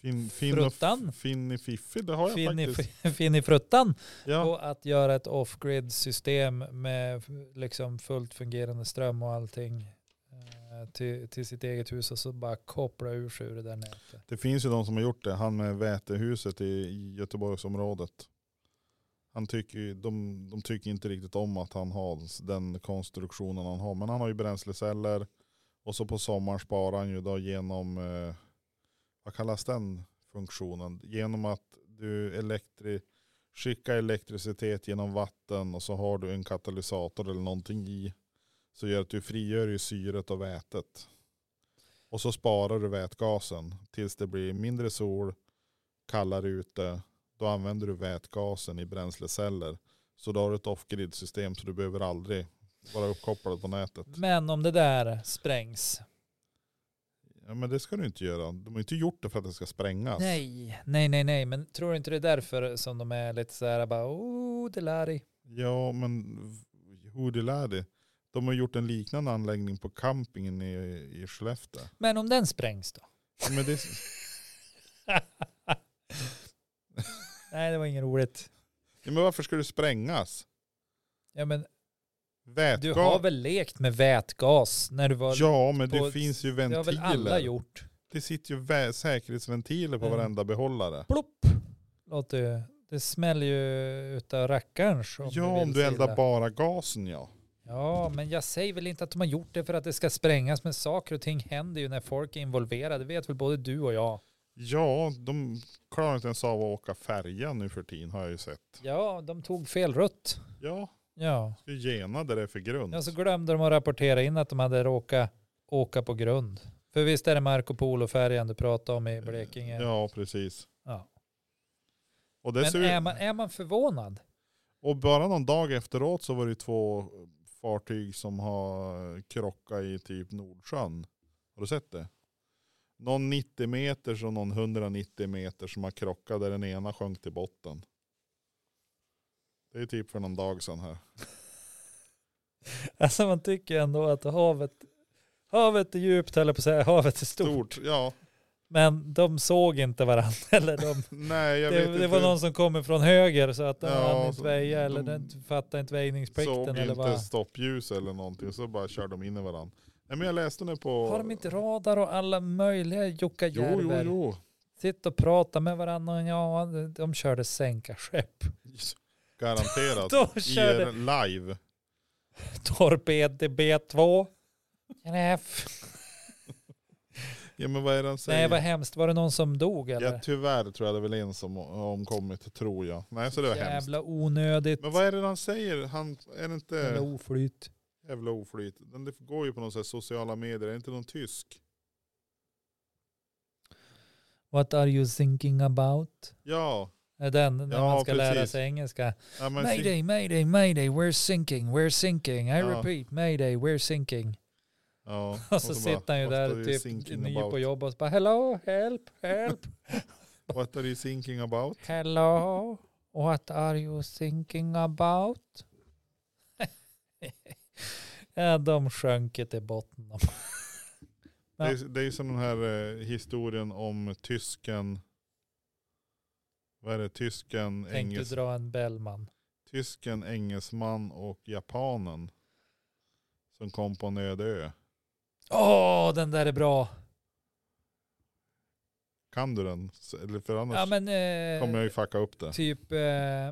Speaker 1: Fin, fin,
Speaker 2: Fruttan.
Speaker 1: Finni Fiffi, det har jag
Speaker 2: finni,
Speaker 1: faktiskt.
Speaker 2: finni fruttan
Speaker 1: Ja,
Speaker 2: på att göra ett off-grid system med liksom fullt fungerande ström och allting eh, till, till sitt eget hus och så bara koppla ur sig ur det där nätet.
Speaker 1: det finns ju de som har gjort det. Han med vätehuset i i Göteborgsområdet. Han tycker, ju- de, de tycker inte riktigt om att han har den konstruktionen han har. Men han har ju bränsleceller. Och så på sommaren sparar han ju då genom, eh, vad kallas den funktionen? Genom att det du elektri, skickar elektricitet genom vatten och så har du en katalysator eller någonting i. Så gör att du frigör ju syret och vätet. Och så sparar du vätgasen tills det blir mindre sol, kallare ute. Då använder du vätgasen i bränsleceller. Så då har du ett off-grid system så du behöver aldrig vara uppkopplad på nätet.
Speaker 2: Men om det där sprängs.
Speaker 1: Ja, men det ska du inte göra. De har inte gjort det för att det ska sprängas.
Speaker 2: Nej, nej, nej, nej. Men tror du inte det är därför som de är lite så här bara, oh, det lär dig.
Speaker 1: Ja, men hur det lär det. De har gjort en liknande anläggning på campingen i, i Skellefteå.
Speaker 2: Men om den sprängs då?
Speaker 1: Ja, Men det,
Speaker 2: Nej, det var inget roligt.
Speaker 1: ja, men varför ska det sprängas?
Speaker 2: Ja, men du
Speaker 1: Vätgas?
Speaker 2: har väl lekt med vätgas när du var...
Speaker 1: Ja, men
Speaker 2: på
Speaker 1: det
Speaker 2: ett-
Speaker 1: finns ju
Speaker 2: det har väl alla
Speaker 1: ventiler.
Speaker 2: gjort?
Speaker 1: Det sitter ju vä- säkerhetsventiler på
Speaker 2: Mm.
Speaker 1: varenda behållare.
Speaker 2: Plopp! Låter ju... Det smäller ju utav rackarns.
Speaker 1: ja, om
Speaker 2: vill
Speaker 1: du
Speaker 2: se
Speaker 1: eldar
Speaker 2: det.
Speaker 1: bara gasen ja.
Speaker 2: Ja, men jag säger väl inte att de har gjort det för att det ska sprängas, men saker och ting händer ju när folk är involverade. Det vet väl både du och jag.
Speaker 1: Ja, de klarar inte ens av att åka färja nu för tiden har jag ju sett.
Speaker 2: Ja, de tog fel rutt.
Speaker 1: Ja,
Speaker 2: Ja,
Speaker 1: ska gena där det är för grund.
Speaker 2: ja så glömde de att rapportera in att de hade råkat åka på grund. För visst är det Marco Polo-färjan du pratade om i Blekinge?
Speaker 1: Ja, precis.
Speaker 2: Ja.
Speaker 1: Och,
Speaker 2: Men är
Speaker 1: dessutom,
Speaker 2: man, är man förvånad?
Speaker 1: och bara någon dag efteråt så var det ju två fartyg som har krockat i typ Nordsjön. Har du sett det? Någon 90 meter och någon 190 meter som har krockat där den ena sjönk till botten. Det är typ för någon dag sedan här.
Speaker 2: Alltså man tycker ändå att havet, havet är djupt, eller på att säga, havet är stort.
Speaker 1: Stort, ja.
Speaker 2: Men de såg inte varandra. Eller de,
Speaker 1: Nej, jag vet
Speaker 2: det,
Speaker 1: inte.
Speaker 2: det var någon som kom från höger så att den
Speaker 1: Ja,
Speaker 2: hann inte
Speaker 1: så
Speaker 2: väja
Speaker 1: de
Speaker 2: eller den fattade inte
Speaker 1: Såg
Speaker 2: väjningsplikten. Eller
Speaker 1: inte
Speaker 2: vad.
Speaker 1: stoppljus eller någonting så bara kör de in i varandra. Nej men jag läste nu på...
Speaker 2: Har de inte radar och alla möjliga
Speaker 1: Jo, jo,
Speaker 2: Jokkajärver?
Speaker 1: jo.
Speaker 2: Sitt och prata med varandra. och Ja, de körde sänkarskepp.
Speaker 1: Garanterat.
Speaker 2: De
Speaker 1: IR
Speaker 2: körde
Speaker 1: live.
Speaker 2: torped i B2. Träff.
Speaker 1: Ja men vad är det han säger?
Speaker 2: Nej, vad hemskt. Var det någon som dog eller?
Speaker 1: ja, tyvärr tror jag det är väl en som har omkommit tror jag. Nej så det var hemskt.
Speaker 2: Jävla onödigt.
Speaker 1: Men vad är det han säger? Han är det
Speaker 2: Jävla
Speaker 1: inte
Speaker 2: oflyt.
Speaker 1: jävla oflyt? Den det går ju på någon sån här sociala medier. Är det inte någon tysk?
Speaker 2: What are you thinking about?
Speaker 1: Ja.
Speaker 2: Är den när
Speaker 1: Ja,
Speaker 2: man ska lära
Speaker 1: precis.
Speaker 2: sig engelska.
Speaker 1: ja men sy-
Speaker 2: Mayday, mayday, mayday, we're sinking, we're sinking. I
Speaker 1: Ja.
Speaker 2: repeat, mayday, we're sinking.
Speaker 1: ja.
Speaker 2: Och så,
Speaker 1: bara,
Speaker 2: sitter han ju
Speaker 1: "What
Speaker 2: där
Speaker 1: are you
Speaker 2: typ
Speaker 1: thinking
Speaker 2: ny
Speaker 1: about?
Speaker 2: på jobb och så bara hello, help, help,
Speaker 1: What are you thinking about?
Speaker 2: hello. What are you thinking about? ja, de sjönk ju till botten. de. Ja.
Speaker 1: Det, är, det är som den här eh, historien om tysken. Vad är det? Tysken,
Speaker 2: Tänkte
Speaker 1: engels,
Speaker 2: dra en Bellman.
Speaker 1: tysken, engelsman och japanen. Som kom på en öde ö.
Speaker 2: Åh, den där är bra.
Speaker 1: Kan du den? S- Eller för annars
Speaker 2: Ja, men,
Speaker 1: kommer jag
Speaker 2: eh,
Speaker 1: ju fucka upp det.
Speaker 2: typ, eh,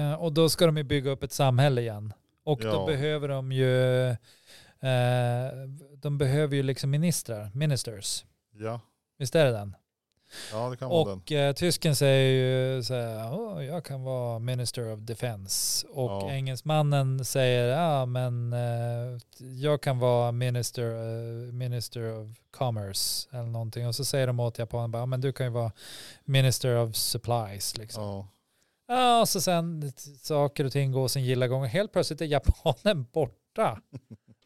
Speaker 2: eh, och då ska de ju bygga upp ett samhälle igen. Och då
Speaker 1: Ja.
Speaker 2: behöver de ju, eh, de behöver ju liksom ministrar, ministers.
Speaker 1: Ja,
Speaker 2: Visst är det den?
Speaker 1: ja det kan vara den.
Speaker 2: Och eh, tysken säger ju så här, "Åh, jag kan vara minister of defense. Och
Speaker 1: Ja.
Speaker 2: engelsmannen säger, ja men eh, jag kan vara minister, eh, minister of commerce eller någonting. Och så säger de åt japanen, bara, "Ja, men du kan ju vara minister of supplies liksom.
Speaker 1: Ja.
Speaker 2: Ja, och så sen saker och ting går sin gilla gång. Och helt plötsligt är japanen borta.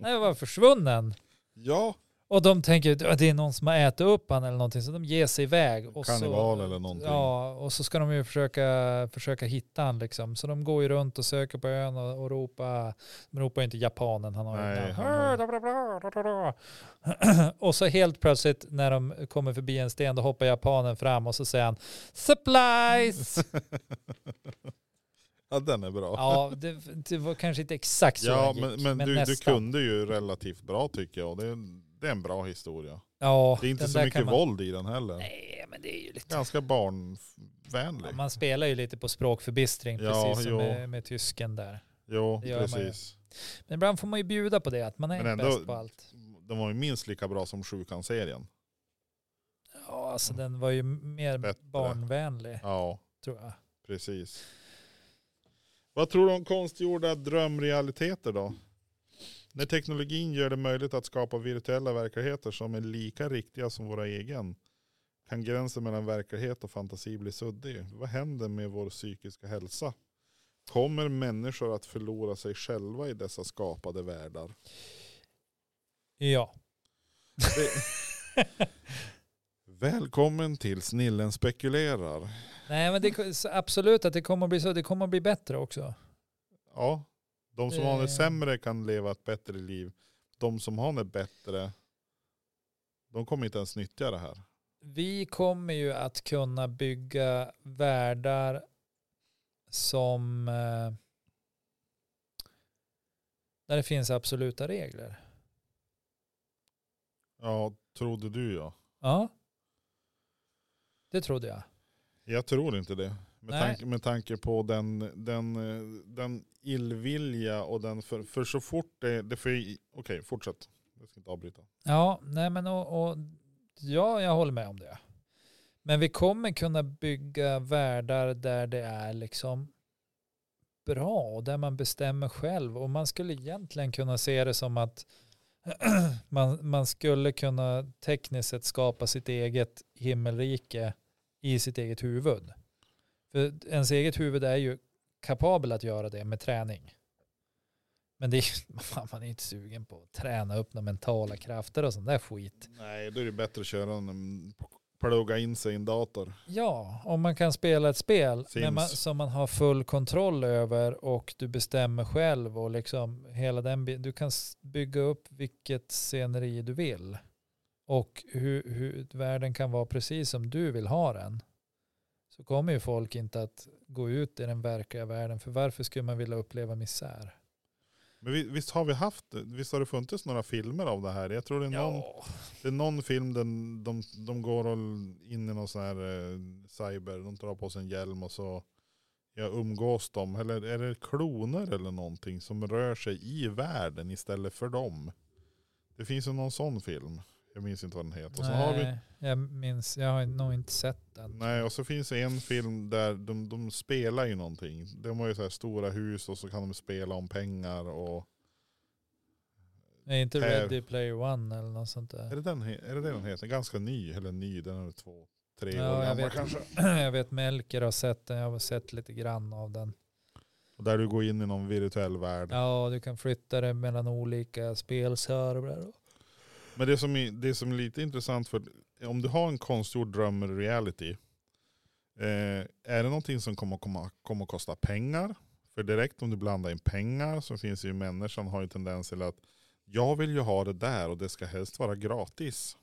Speaker 2: Han var försvunnen.
Speaker 1: ja,
Speaker 2: Och de tänker att det är någon som har ätit upp han eller någonting så de ger sig iväg. Och
Speaker 1: Karneval
Speaker 2: så,
Speaker 1: eller någonting.
Speaker 2: Ja, och så ska de ju försöka, försöka hitta han liksom. Så de går ju runt och söker på ön och, och ropar, de ropar ju inte japanen, han har ju
Speaker 1: Nej,
Speaker 2: ett
Speaker 1: han har ju-
Speaker 2: namn. Och så helt plötsligt när de kommer förbi en sten då hoppar japanen fram och så säger han supplies.
Speaker 1: ja den är bra.
Speaker 2: Ja, det, det var kanske inte exakt så
Speaker 1: Ja,
Speaker 2: den gick,
Speaker 1: men, men, du, du
Speaker 2: nästan.
Speaker 1: kunde ju relativt bra tycker jag. Det är, det är en bra historia.
Speaker 2: Ja,
Speaker 1: Det är inte
Speaker 2: den
Speaker 1: så
Speaker 2: där
Speaker 1: mycket
Speaker 2: kan man...
Speaker 1: våld i den heller.
Speaker 2: Nej, men det är ju lite...
Speaker 1: Ganska barnvänlig.
Speaker 2: Ja, man spelar ju lite på språkförbistring,
Speaker 1: Liksom. Ja,
Speaker 2: precis som
Speaker 1: jo.
Speaker 2: med, med tysken där.
Speaker 1: Jo,
Speaker 2: Det gör man ju.
Speaker 1: precis.
Speaker 2: Men ibland får man ju bjuda på det, att man är
Speaker 1: Men
Speaker 2: inte
Speaker 1: ändå-
Speaker 2: bäst på allt.
Speaker 1: De var ju minst lika bra som Sjukan-serien.
Speaker 2: Ja, alltså den var ju mer
Speaker 1: Mm. Bättre.
Speaker 2: barnvänlig
Speaker 1: Ja,
Speaker 2: tror jag.
Speaker 1: precis. Vad tror du om konstgjorda drömrealiteter då? När teknologin gör det möjligt att skapa virtuella verkligheter som är lika riktiga som våra egen kan gränsen mellan verklighet och fantasi bli suddig. Vad händer med vår psykiska hälsa? Kommer människor att förlora sig själva i dessa skapade världar?
Speaker 2: Ja.
Speaker 1: Välkommen till Snillen spekulerar.
Speaker 2: Nej men det, ko- så absolut att det kommer att bli så. Det kommer att bli bättre också.
Speaker 1: Ja, de som har det
Speaker 2: Eh.
Speaker 1: sämre kan leva ett bättre liv. De som har det bättre, de kommer inte ens nyttja det här.
Speaker 2: Vi kommer ju att kunna bygga världar som eh, där det finns absoluta regler.
Speaker 1: Ja, trodde du ja.
Speaker 2: Ja. Det trodde jag.
Speaker 1: Jag tror inte det. Med,
Speaker 2: Nej.
Speaker 1: tanke, med tanke på den, den, eh, den illvilja och den, för, för så fort det, det för, okej fortsätt. Jag ska inte avbryta.
Speaker 2: Ja, nej men och, och ja, jag håller med om det. Men vi kommer kunna bygga världar där det är liksom bra och där man bestämmer själv och man skulle egentligen kunna se det som att man, man skulle kunna tekniskt sett skapa sitt eget himmelrike i sitt eget huvud. För ens eget huvud är ju kapabel att göra det med träning. Men det är, ju- fan, man är inte sugen på att träna upp några mentala krafter och sån där skit.
Speaker 1: Nej, då är det bättre att köra en, plugga in sig i en dator.
Speaker 2: Ja, om man kan spela ett spel
Speaker 1: Sims.
Speaker 2: när man, som man har full kontroll över och du bestämmer själv och liksom hela den bi- Du kan s- bygga upp vilket sceneri du vill och hur, hur världen kan vara precis som du vill ha den. Så kommer ju folk inte att gå ut i den verkliga världen för varför skulle man vilja uppleva misär?
Speaker 1: Men vi- visst har vi haft, visst har det funnits några filmer av det här? Jag tror det är någon, Det är någon film där de, de går och in i någon sån här eh, cyber, de drar på sig en hjälm och så ja, umgås de. Eller är det kloner eller någonting som rör sig i världen istället för dem? Det finns ju någon sån film. Jag minns inte vad den heter. Och så har vi,
Speaker 2: Nej, jag minns, jag har nog inte sett den.
Speaker 1: nej, och så finns det en film där de, de spelar ju någonting. De har ju så här stora hus och så kan de spela om pengar och...
Speaker 2: Är inte
Speaker 1: Här.
Speaker 2: Ready Player One eller något sånt
Speaker 1: Är
Speaker 2: där?
Speaker 1: det den, he- är det den heter? Ganska ny, eller ny, den är två, tre
Speaker 2: Ja,
Speaker 1: år
Speaker 2: jag
Speaker 1: gammal
Speaker 2: vet.
Speaker 1: kanske.
Speaker 2: Jag vet Melker har sett den, jag har sett lite grann av den.
Speaker 1: Och där du går in i någon virtuell värld.
Speaker 2: Ja, du kan flytta det mellan olika spelservrar.
Speaker 1: Men det som, är, det som är lite intressant för om du har en konstgjord dröm reality. Eh, är det någonting som kommer, kommer, kommer att kosta pengar? För direkt om du blandar in pengar så finns det ju människan har ju tendens till att jag vill ju ha det där och det ska helst vara gratis.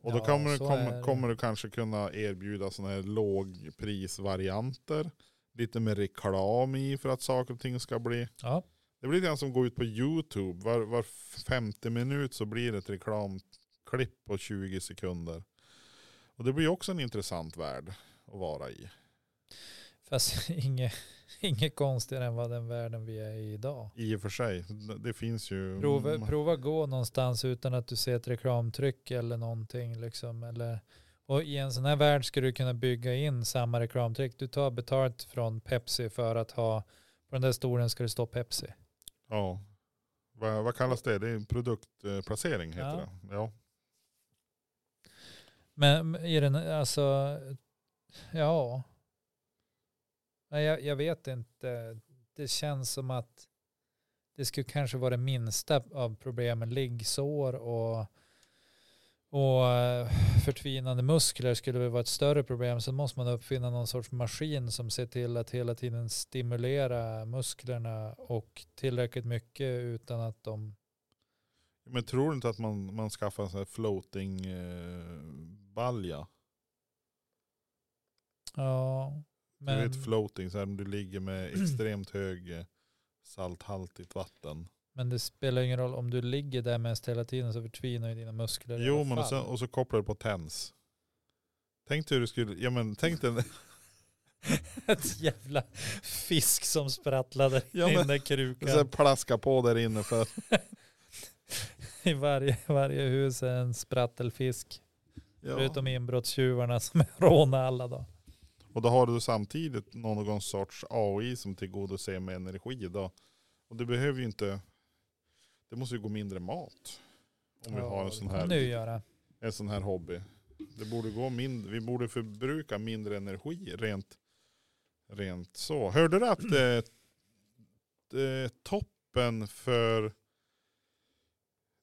Speaker 1: Och då
Speaker 2: Ja,
Speaker 1: kommer, du,
Speaker 2: så är
Speaker 1: kommer,
Speaker 2: det.
Speaker 1: kommer du kanske kunna erbjuda sådana här lågprisvarianter. Lite med reklam i för att saker och ting ska bli
Speaker 2: Ja,
Speaker 1: det blir lite grann som går ut på YouTube. Var, var femte minut så blir det ett reklamklipp på 20 sekunder. Och det blir också en intressant värld att vara i.
Speaker 2: fast inget, inget konstigare än vad den världen vi är i idag.
Speaker 1: I och för sig. Det finns ju...
Speaker 2: Prova, prova gå någonstans utan att du ser ett reklamtryck eller någonting. Liksom, eller, och i en sån här värld skulle du kunna bygga in samma reklamtryck. Du tar betalt från Pepsi för att ha, på den där stolen ska det stå Pepsi.
Speaker 1: Ja. Vad, vad kallas det? Det är en produktplacering heter
Speaker 2: Ja.
Speaker 1: det. Ja.
Speaker 2: Men i den, alltså, ja. Nej, jag, jag vet inte. Det känns som att det skulle kanske vara det minsta av problemen. Liggsår och, och eh, förtvinande muskler skulle väl vara ett större problem. Sen måste man uppfinna någon sorts maskin som ser till att hela tiden stimulera musklerna och tillräckligt mycket utan att de...
Speaker 1: Men tror du inte att man, man skaffar en sån här floating eh, balja?
Speaker 2: Ja,
Speaker 1: Du
Speaker 2: men,
Speaker 1: vet floating, så här om du ligger med extremt hög eh, salthaltigt vatten.
Speaker 2: men det spelar ingen roll. Om du ligger där mest hela tiden så förtvinar ju dina muskler. i
Speaker 1: Jo,
Speaker 2: alla
Speaker 1: men och,
Speaker 2: fall.
Speaker 1: sen, och så kopplar du på tens. Tänk dig hur du skulle, ja men tänk dig,
Speaker 2: Ett jävla fisk som sprattlade
Speaker 1: Ja, men-
Speaker 2: in i krukan.
Speaker 1: så här plaska på där inne för
Speaker 2: I varje, varje hus är en sprattelfisk.
Speaker 1: Ja.
Speaker 2: Förutom inbrottstjuvarna som rånar alla då.
Speaker 1: Och då har du samtidigt någon sorts AI som tillgodoser med energi då. Och du behöver ju inte, det måste ju gå mindre mat. Om vi
Speaker 2: Ja,
Speaker 1: har en sån
Speaker 2: det kan du ju
Speaker 1: här,
Speaker 2: göra.
Speaker 1: en sån här hobby. Det borde gå mindre, vi borde förbruka mindre energi rent, rent så. Hörde du att eh, eh, toppen för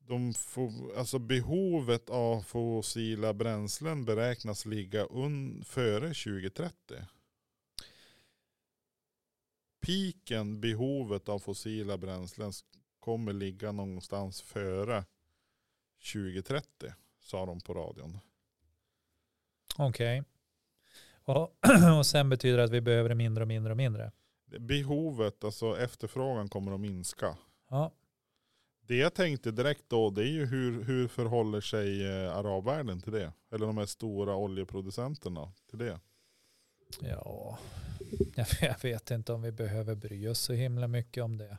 Speaker 1: de fo- alltså behovet av fossila bränslen beräknas ligga un, före 2030. Piken behovet av fossila bränslen s- kommer ligga någonstans före 2030 sa de på radion.
Speaker 2: Okej. Och, och sen betyder det att vi behöver det mindre och mindre och mindre.
Speaker 1: Behovet, alltså efterfrågan kommer att minska.
Speaker 2: Ja,
Speaker 1: Det jag tänkte direkt då, det är ju hur, hur förhåller sig eh, arabvärlden till det? Eller de här stora oljeproducenterna till det?
Speaker 2: ja. Jag, jag vet inte om vi behöver bry oss så himla mycket om det.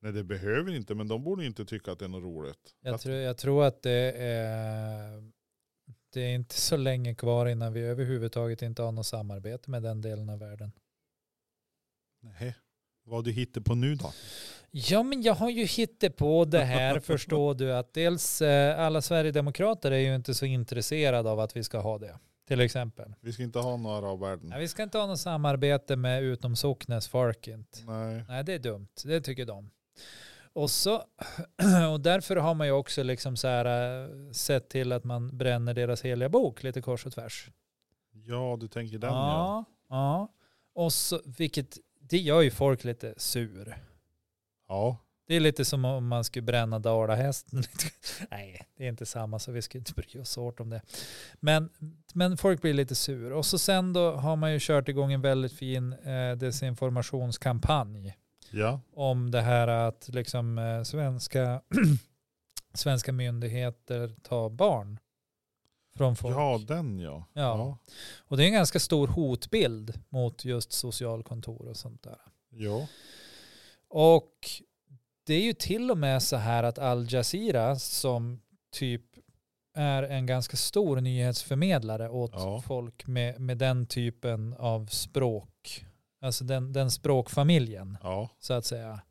Speaker 1: Nej det behöver inte, men de borde ju inte tycka att det är något roligt.
Speaker 2: Jag,
Speaker 1: Att-
Speaker 2: tror, jag tror att det är, det är inte så länge kvar innan vi överhuvudtaget inte har något samarbete med den delen av världen.
Speaker 1: Nej. Vad du hittar på nu då?
Speaker 2: Ja, men jag har ju hittat på det här, förstår du, att dels eh, alla Sverigedemokrater är ju inte så intresserade av att vi ska ha det, till exempel.
Speaker 1: Vi ska inte ha några arabvärlden.
Speaker 2: Nej, vi ska inte ha något samarbete med utom socknes folk inte.
Speaker 1: Nej.
Speaker 2: Nej, det är dumt. Det tycker de. Och, så, och därför har man ju också liksom så här, eh, sett till att man bränner deras heliga bok lite kors och tvärs.
Speaker 1: Ja, du tänker den ja.
Speaker 2: ja. ja. Och så, vilket, det gör ju folk lite sur.
Speaker 1: Ja.
Speaker 2: Det är lite som om man skulle bränna dalahästen. Nej, det är inte samma så vi ska inte bry oss åt om det. Men, men folk blir lite sur. Och så sen då har man ju kört igång en väldigt fin eh, desinformationskampanj
Speaker 1: Ja.
Speaker 2: om det här att liksom eh, svenska, svenska myndigheter tar barn från folk.
Speaker 1: Ja, den ja.
Speaker 2: Ja. Och det är en ganska stor hotbild mot just socialkontor och sånt där.
Speaker 1: Ja.
Speaker 2: Och det är ju till och med så här att Al Jazeera som typ är en ganska stor nyhetsförmedlare åt
Speaker 1: Ja.
Speaker 2: folk med, med den typen av språk, alltså den, den språkfamiljen
Speaker 1: Ja.
Speaker 2: så att säga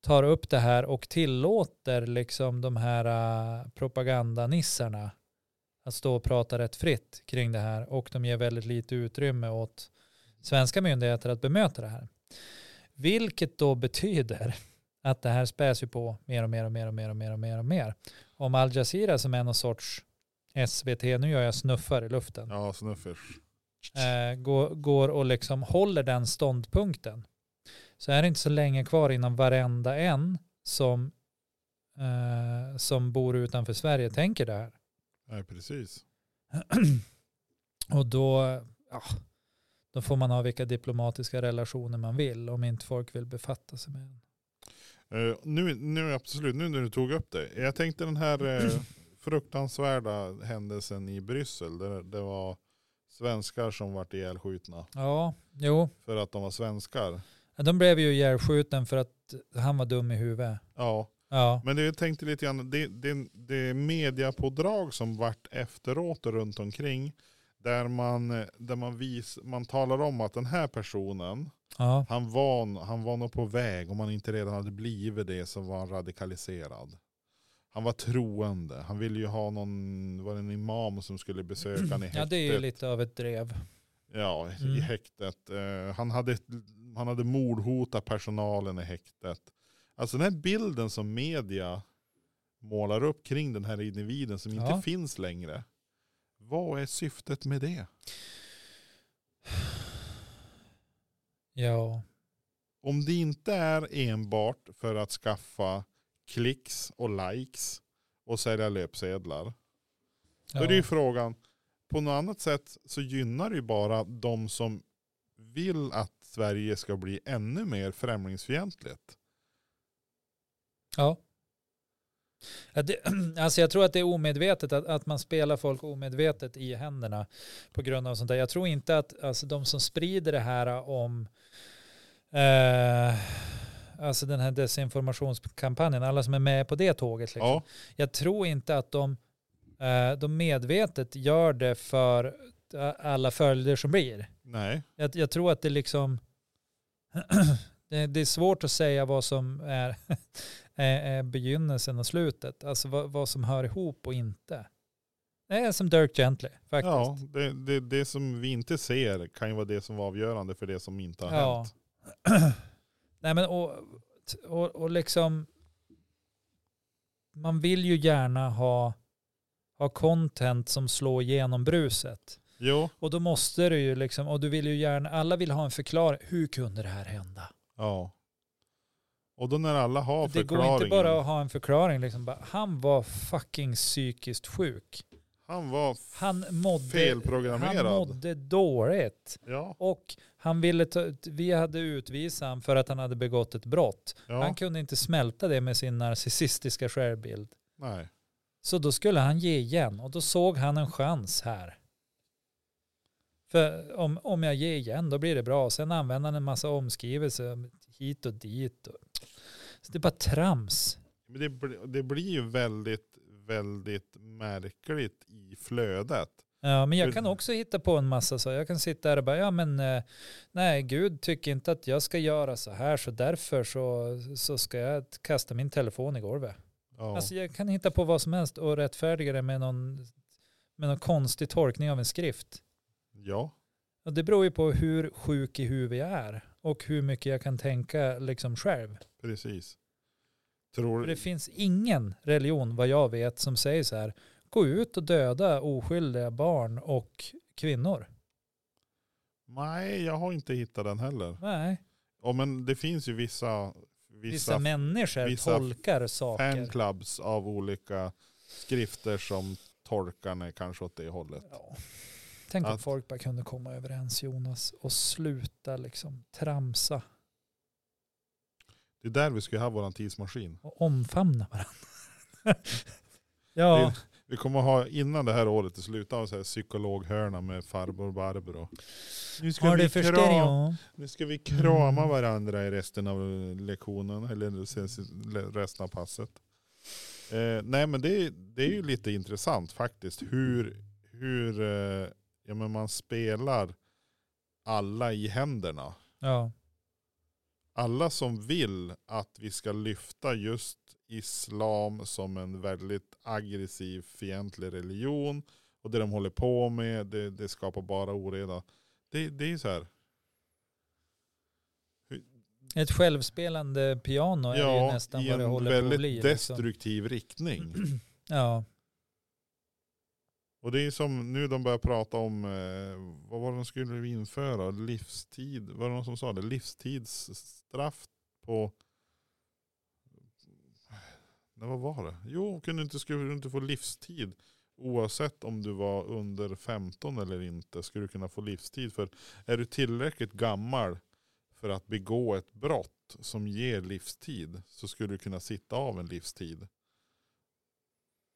Speaker 2: tar upp det här och tillåter liksom de här eh, propagandanissarna att stå och prata rätt fritt kring det här och de ger väldigt lite utrymme åt svenska myndigheter att bemöta det här. Vilket då betyder att det här späs ju på mer och mer och mer och mer och mer och mer och mer. Om Al Jazeera som är någon sorts SVT, nu gör jag snuffar i luften,
Speaker 1: Ja, snuffers.
Speaker 2: eh, går, går och liksom håller den ståndpunkten så är det inte så länge kvar innan varenda en som, eh, som bor utanför Sverige tänker det här.
Speaker 1: Nej, precis.
Speaker 2: Och då, ja, då får man ha vilka diplomatiska relationer man vill om inte folk vill befatta sig med den.
Speaker 1: Eh, nu, nu absolut, nu när du tog upp det. Jag tänkte den här eh, fruktansvärda händelsen i Bryssel. Där det var svenskar som vart ihjälskjutna.
Speaker 2: Ja, jo,
Speaker 1: För att de var svenskar.
Speaker 2: de blev ju ihjälskjuten för att han var dum i huvudet.
Speaker 1: Ja.
Speaker 2: Ja,
Speaker 1: Men det jag tänkte lite grann, det, det, det mediapådrag som vart efteråt och runt omkring. Där man, där man, vis, man talar om att den här personen,
Speaker 2: ja,
Speaker 1: han var, han var nog på väg, om han inte redan hade blivit det, så var han radikaliserad. Han var troende, han ville ju ha någon, var det en imam som skulle besöka honom i häktet?
Speaker 2: ja det är ju lite av ett drev.
Speaker 1: Ja, i
Speaker 2: Mm.
Speaker 1: häktet. Eh, han, hade, han hade mordhotat personalen i häktet. Alltså den här bilden som media målar upp kring den här individen som inte
Speaker 2: Ja.
Speaker 1: finns längre. Vad är syftet med det?
Speaker 2: Ja,
Speaker 1: Om det inte är enbart för att skaffa klicks och likes och sälja löpsedlar. Då är det ju
Speaker 2: ja,
Speaker 1: frågan, på något annat sätt så gynnar det ju bara de som vill att Sverige ska bli ännu mer främlingsfientligt.
Speaker 2: ja. Ja, det, alltså jag tror att det är omedvetet, att, att man spelar folk omedvetet i händerna på grund av sånt där. Jag tror inte att alltså, de som sprider det här eh, om eh, alltså den här desinformationskampanjen, alla som är med på det tåget, liksom,
Speaker 1: Ja,
Speaker 2: jag tror inte att de eh, de medvetet gör det för eh, alla följder som blir.
Speaker 1: Nej.
Speaker 2: Jag, jag tror att det liksom, det, det är svårt att säga vad som är, är, är begynnelsen och slutet. Alltså vad, vad som hör ihop och inte. Det är som Dirk Gently faktiskt.
Speaker 1: Ja, det, det, det som vi inte ser kan ju vara det som var avgörande för det som inte har
Speaker 2: Ja.
Speaker 1: hänt.
Speaker 2: Nej men och, och, och liksom, man vill ju gärna ha, ha content som slår igenom bruset.
Speaker 1: Jo,
Speaker 2: Och då måste du ju liksom, och du vill ju gärna, alla vill ha en förklaring. Hur kunde det här hända?
Speaker 1: ja. Och då när alla har
Speaker 2: Det går inte
Speaker 1: förklaringen.
Speaker 2: bara att ha en förklaring. Liksom. bara, Han var fucking psykiskt sjuk.
Speaker 1: Han var
Speaker 2: Han mådde, han
Speaker 1: felprogrammerad.
Speaker 2: mådde dåligt.
Speaker 1: Ja,
Speaker 2: Och han ville ta, ut- vi hade utvisat honom för att han hade begått ett brott.
Speaker 1: ja.
Speaker 2: Han kunde inte smälta det med sin narcissistiska självbild.
Speaker 1: Nej.
Speaker 2: Så då skulle han ge igen och då såg han en chans här. För om, om jag ger igen då blir det bra. Sen använder han en massa omskrivelser hit och dit. Och... Så det är bara trams.
Speaker 1: Men det, bli- det blir ju väldigt, väldigt märkligt i flödet.
Speaker 2: Ja, men jag
Speaker 1: Hur-
Speaker 2: kan också hitta på en massa så. Jag kan sitta där och bara, ja men eh, nej, Gud tycker inte att jag ska göra så här så därför så, så ska jag kasta min telefon i golvet.
Speaker 1: Ja.
Speaker 2: Alltså jag kan hitta på vad som helst och rättfärdiga det med någon, med någon konstig tolkning av en skrift.
Speaker 1: ja.
Speaker 2: Och det beror ju på hur sjuk i huvudet jag är och hur mycket jag kan tänka liksom själv.
Speaker 1: Precis.
Speaker 2: För det
Speaker 1: Tror,
Speaker 2: finns ingen religion vad jag vet som säger så här, gå ut och döda oskyldiga barn och kvinnor.
Speaker 1: nej, jag har inte hittat den heller.
Speaker 2: Nej,
Speaker 1: Ja, men det finns ju vissa,
Speaker 2: vissa,
Speaker 1: vissa,
Speaker 2: människor
Speaker 1: vissa
Speaker 2: tolkar saker.
Speaker 1: fanclubs av olika skrifter som tolkarna kanske åt det hållet.
Speaker 2: Ja. Tänk om
Speaker 1: Att-
Speaker 2: folk bara kunde komma överens Jonas och sluta liksom tramsa
Speaker 1: Det är där vi ska ha vår tidsmaskin.
Speaker 2: och omfamna varandra. ja,
Speaker 1: Vi kommer ha innan det här året är slut av så här psykologhörna med farbror Barbro. Nu
Speaker 2: har du förstått? ja.
Speaker 1: Nu ska vi krama
Speaker 2: Mm.
Speaker 1: varandra i resten av lektionen, eller sen- sen- resten av passet. Eh, nej men det, är- det är ju lite intressant faktiskt hur, hur eh, ja, men man spelar alla i händerna.
Speaker 2: Ja.
Speaker 1: Alla som vill att vi ska lyfta just islam som en väldigt aggressiv, fientlig religion och det de håller på med, det, det skapar bara oreda. Det, det är ju så här,
Speaker 2: Ett självspelande piano är ju nästan
Speaker 1: i
Speaker 2: vad det
Speaker 1: en
Speaker 2: håller på att
Speaker 1: väldigt
Speaker 2: bli. liksom.
Speaker 1: destruktiv riktning.
Speaker 2: Ja,
Speaker 1: Och det är som nu de börjar prata om, eh, vad var det de skulle införa? Livstid, var det någon som sa det? Livstidsstraff på, nej vad var det? Jo, kunde inte, skulle du inte få livstid oavsett om du var under 15 eller inte, skulle du kunna få livstid. För är du tillräckligt gammal för att begå ett brott som ger livstid så skulle du kunna sitta av en livstid.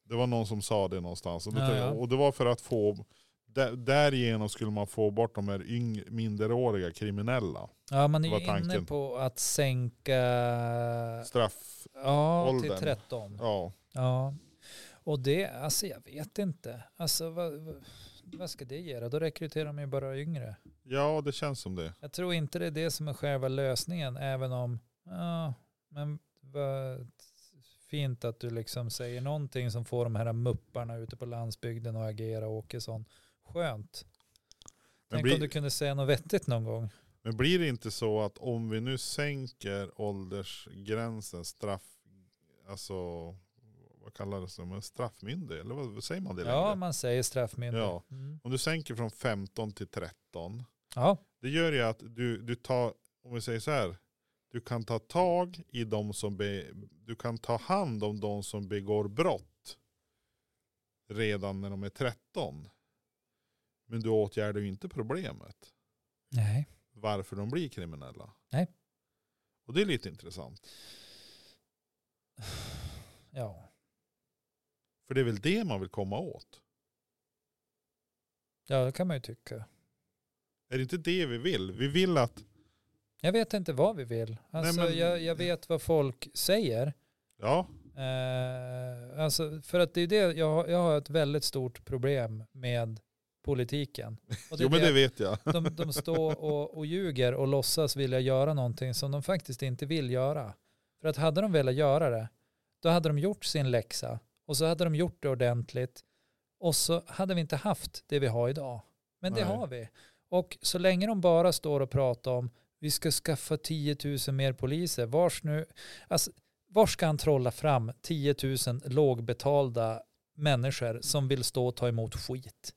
Speaker 1: Det var någon som sa det någonstans. Och, då
Speaker 2: Ja,
Speaker 1: tänkte jag-
Speaker 2: ja.
Speaker 1: och det var för att få, där, därigenom skulle man få bort de här yng, minderåriga kriminella.
Speaker 2: ja man är
Speaker 1: Vad
Speaker 2: ju
Speaker 1: var
Speaker 2: inne
Speaker 1: tanken?
Speaker 2: på att sänka
Speaker 1: Straff,
Speaker 2: ja, till
Speaker 1: Åldern.
Speaker 2: 13.
Speaker 1: ja.
Speaker 2: Ja. Och det, alltså jag vet inte. Alltså vad, vad- vad ska det göra? Då rekryterar de ju bara yngre.
Speaker 1: Ja, det känns som det.
Speaker 2: Jag tror inte det är det som är själva lösningen, även om, ja, men vad fint att du liksom säger någonting som får de här mupparna ute på landsbygden att agera Åkesson. Skönt.
Speaker 1: Men
Speaker 2: Tänk
Speaker 1: blir-
Speaker 2: om du kunde säga något vettigt någon gång.
Speaker 1: Men blir det inte så att om vi nu sänker åldersgränsen, straff, alltså vad kallar det som, en straffmyndig? Eller vad vad säger man det
Speaker 2: Ja,
Speaker 1: längre?
Speaker 2: man säger straffmyndig.
Speaker 1: Ja.
Speaker 2: Mm.
Speaker 1: Om du sänker från 15 till 13,
Speaker 2: ja.
Speaker 1: det gör ju att du, du tar, om vi säger så här, du kan ta tag i de som, be, du kan ta hand om de som begår brott redan när de är 13. Men du åtgärdar ju inte problemet.
Speaker 2: Nej.
Speaker 1: varför de blir kriminella.
Speaker 2: Nej.
Speaker 1: Och det är lite intressant.
Speaker 2: Ja.
Speaker 1: För det är väl det man vill komma åt.
Speaker 2: ja, det kan man ju tycka.
Speaker 1: Är det inte det vi vill? Vi vill att...
Speaker 2: Jag vet inte vad vi vill. Alltså,
Speaker 1: men-
Speaker 2: jag, jag vet vad folk säger.
Speaker 1: Ja,
Speaker 2: Eh, alltså, för att det är det, jag, har- jag har ett väldigt stort problem med politiken. Och
Speaker 1: Jo men det vet jag.
Speaker 2: de, de står och, och ljuger och låtsas vilja göra någonting som de faktiskt inte vill göra. För att hade de velat göra det, då hade de gjort sin läxa och så hade de gjort det ordentligt och så hade vi inte haft det vi har idag. Men det
Speaker 1: Nej.
Speaker 2: har vi. Och så länge de bara står och pratar om vi ska skaffa 10 000 mer poliser, vars nu, alltså, var ska han trolla fram 10 000 lågbetalda människor som vill stå och ta emot skit?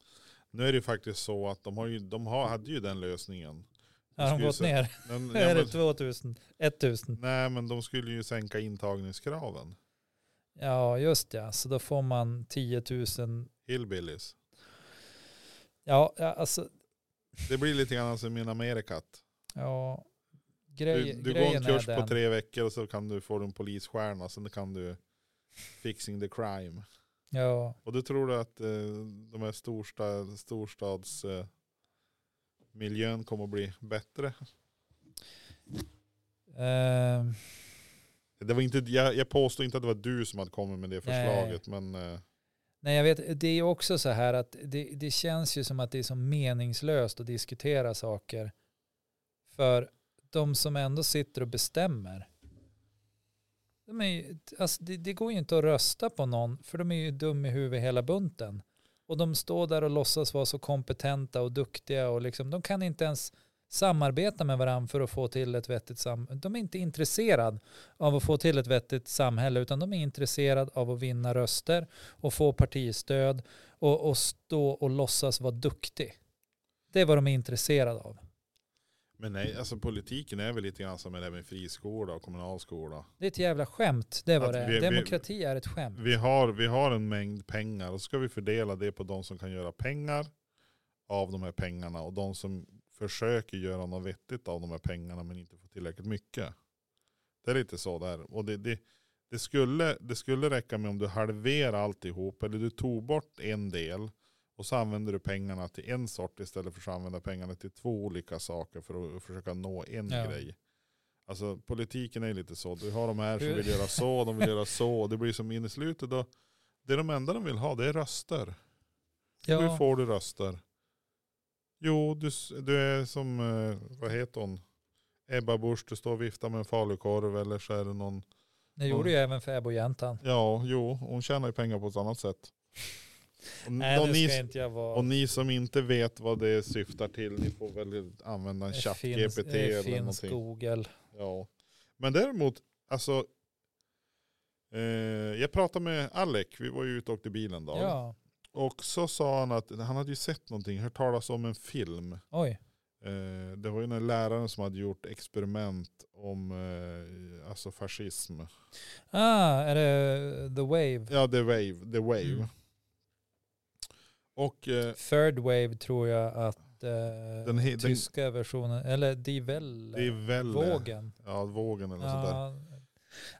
Speaker 1: Nu är det ju faktiskt så att de, har ju, de har, hade ju den lösningen.
Speaker 2: Har de
Speaker 1: skulle
Speaker 2: gått
Speaker 1: säga-
Speaker 2: ner?
Speaker 1: Men,
Speaker 2: Är
Speaker 1: ja,
Speaker 2: det
Speaker 1: men,
Speaker 2: 2000? 1000?
Speaker 1: nej men de skulle ju sänka intagningskraven.
Speaker 2: Ja, just det. Så då får man 10 000.
Speaker 1: Hillbillies.
Speaker 2: Ja, ja, alltså,
Speaker 1: Det blir lite grann som in Amerikat.
Speaker 2: ja.
Speaker 1: Du,
Speaker 2: Grej,
Speaker 1: du går
Speaker 2: grejen
Speaker 1: en kurs
Speaker 2: är den.
Speaker 1: på tre veckor och så kan du få en polisstjärna. Sen kan du fixing the crime.
Speaker 2: Ja,
Speaker 1: Och du tror du att eh, de här storstad, storstads eh, miljön kommer att bli bättre?
Speaker 2: ehm,
Speaker 1: Det var inte, jag, jag påstår inte att det var du som hade kommit med det förslaget. Men eh,
Speaker 2: nej, jag vet, det är också så här att det, det känns ju som att det är så meningslöst att diskutera saker. För de som ändå sitter och bestämmer. De är ju, alltså, det, det går ju inte att rösta på någon för de är ju dum i huvudet hela bunten. Och de står där och låtsas vara så kompetenta och duktiga och liksom, de kan inte ens samarbeta med varandra för att få till ett vettigt samhälle. De är inte intresserade av att få till ett vettigt samhälle utan de är intresserade av att vinna röster och få partistöd och, och stå och låtsas vara duktig. Det är vad de är intresserade av.
Speaker 1: Men nej, alltså politiken är väl lite grann som med det här med friskola och kommunalskola.
Speaker 2: Det är ett jävla skämt. Det var
Speaker 1: Att
Speaker 2: det. är.
Speaker 1: vi- vi-
Speaker 2: Demokrati är ett skämt.
Speaker 1: Vi har, vi har en mängd pengar och ska vi fördela det på de som kan göra pengar av de här pengarna och de som försöker göra något vettigt av de här pengarna men inte får tillräckligt mycket. Det är lite så där. Och det, det, det, skulle, det skulle räcka med om du halverar alltihop eller du tog bort en del och så använder du pengarna till en sort istället för att använda pengarna till två olika saker för att försöka nå en
Speaker 2: Ja.
Speaker 1: grej. Alltså politiken är lite så. Du har de här som
Speaker 2: Hur-
Speaker 1: vill göra så, de vill göra så. Och Det blir som in i slutet då. Det de enda de vill ha det är röster. Hur
Speaker 2: Ja,
Speaker 1: får du röster? Jo, du, s- du är som, eh, vad heter hon? Ebba Busch, du står och viftar med en falukorv eller så är det någon.
Speaker 2: det gjorde ju även Fäbodjäntan.
Speaker 1: Ja, jo, hon tjänar ju pengar på ett annat sätt. Och,
Speaker 2: Nej,
Speaker 1: och,
Speaker 2: nu
Speaker 1: ni,
Speaker 2: ska inte jag vara...
Speaker 1: och ni som inte vet vad det syftar till, ni får väl använda en
Speaker 2: Det
Speaker 1: chatt
Speaker 2: finns,
Speaker 1: GPT
Speaker 2: det
Speaker 1: eller
Speaker 2: finns
Speaker 1: någonting.
Speaker 2: Google.
Speaker 1: Ja. Men däremot, alltså. Eh, jag pratade med Alec, vi var ju ute och åkte bilen då.
Speaker 2: Ja,
Speaker 1: Och så sa han att han hade ju sett någonting, hört talas om en film.
Speaker 2: oj.
Speaker 1: Eh, det var ju den läraren som hade gjort experiment om eh, alltså fascism.
Speaker 2: Ah, är det The Wave?
Speaker 1: Ja, The Wave. The wave.
Speaker 2: Mm.
Speaker 1: Och eh,
Speaker 2: Third Wave tror jag att eh,
Speaker 1: den, he- den,
Speaker 2: tyska versionen, eller Die Welle,
Speaker 1: det är väl
Speaker 2: vågen.
Speaker 1: Ja, vågen eller sådär.
Speaker 2: Ja.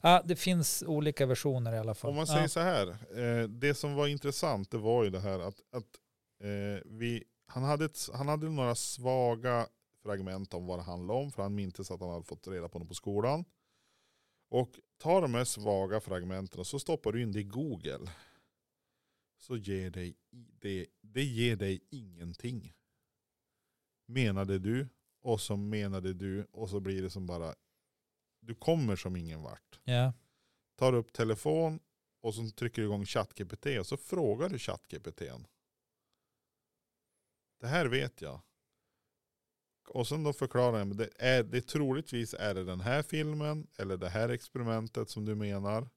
Speaker 2: Ah, det finns olika versioner i alla fall. Ah,
Speaker 1: Om man säger så här, eh, det som var intressant det var ju det här att, att eh, vi, han, hade ett, han hade några svaga fragment om vad det handlade om, för han mintes att han hade fått reda på det på skolan. Och tar de här svaga fragmenten och så stoppar du in det i Google. Så ger dig, i- det, det ger dig ingenting. Menade du, och så menade du, och så blir det som bara, du kommer som ingen vart
Speaker 2: ja. ja.
Speaker 1: tar upp telefon och så trycker du igång ChatGPT och så frågar du ChatGPT. n. Det här vet jag. Och sen då förklarar jag, men det är, det troligtvis är det den här filmen eller det här experimentet som du menar.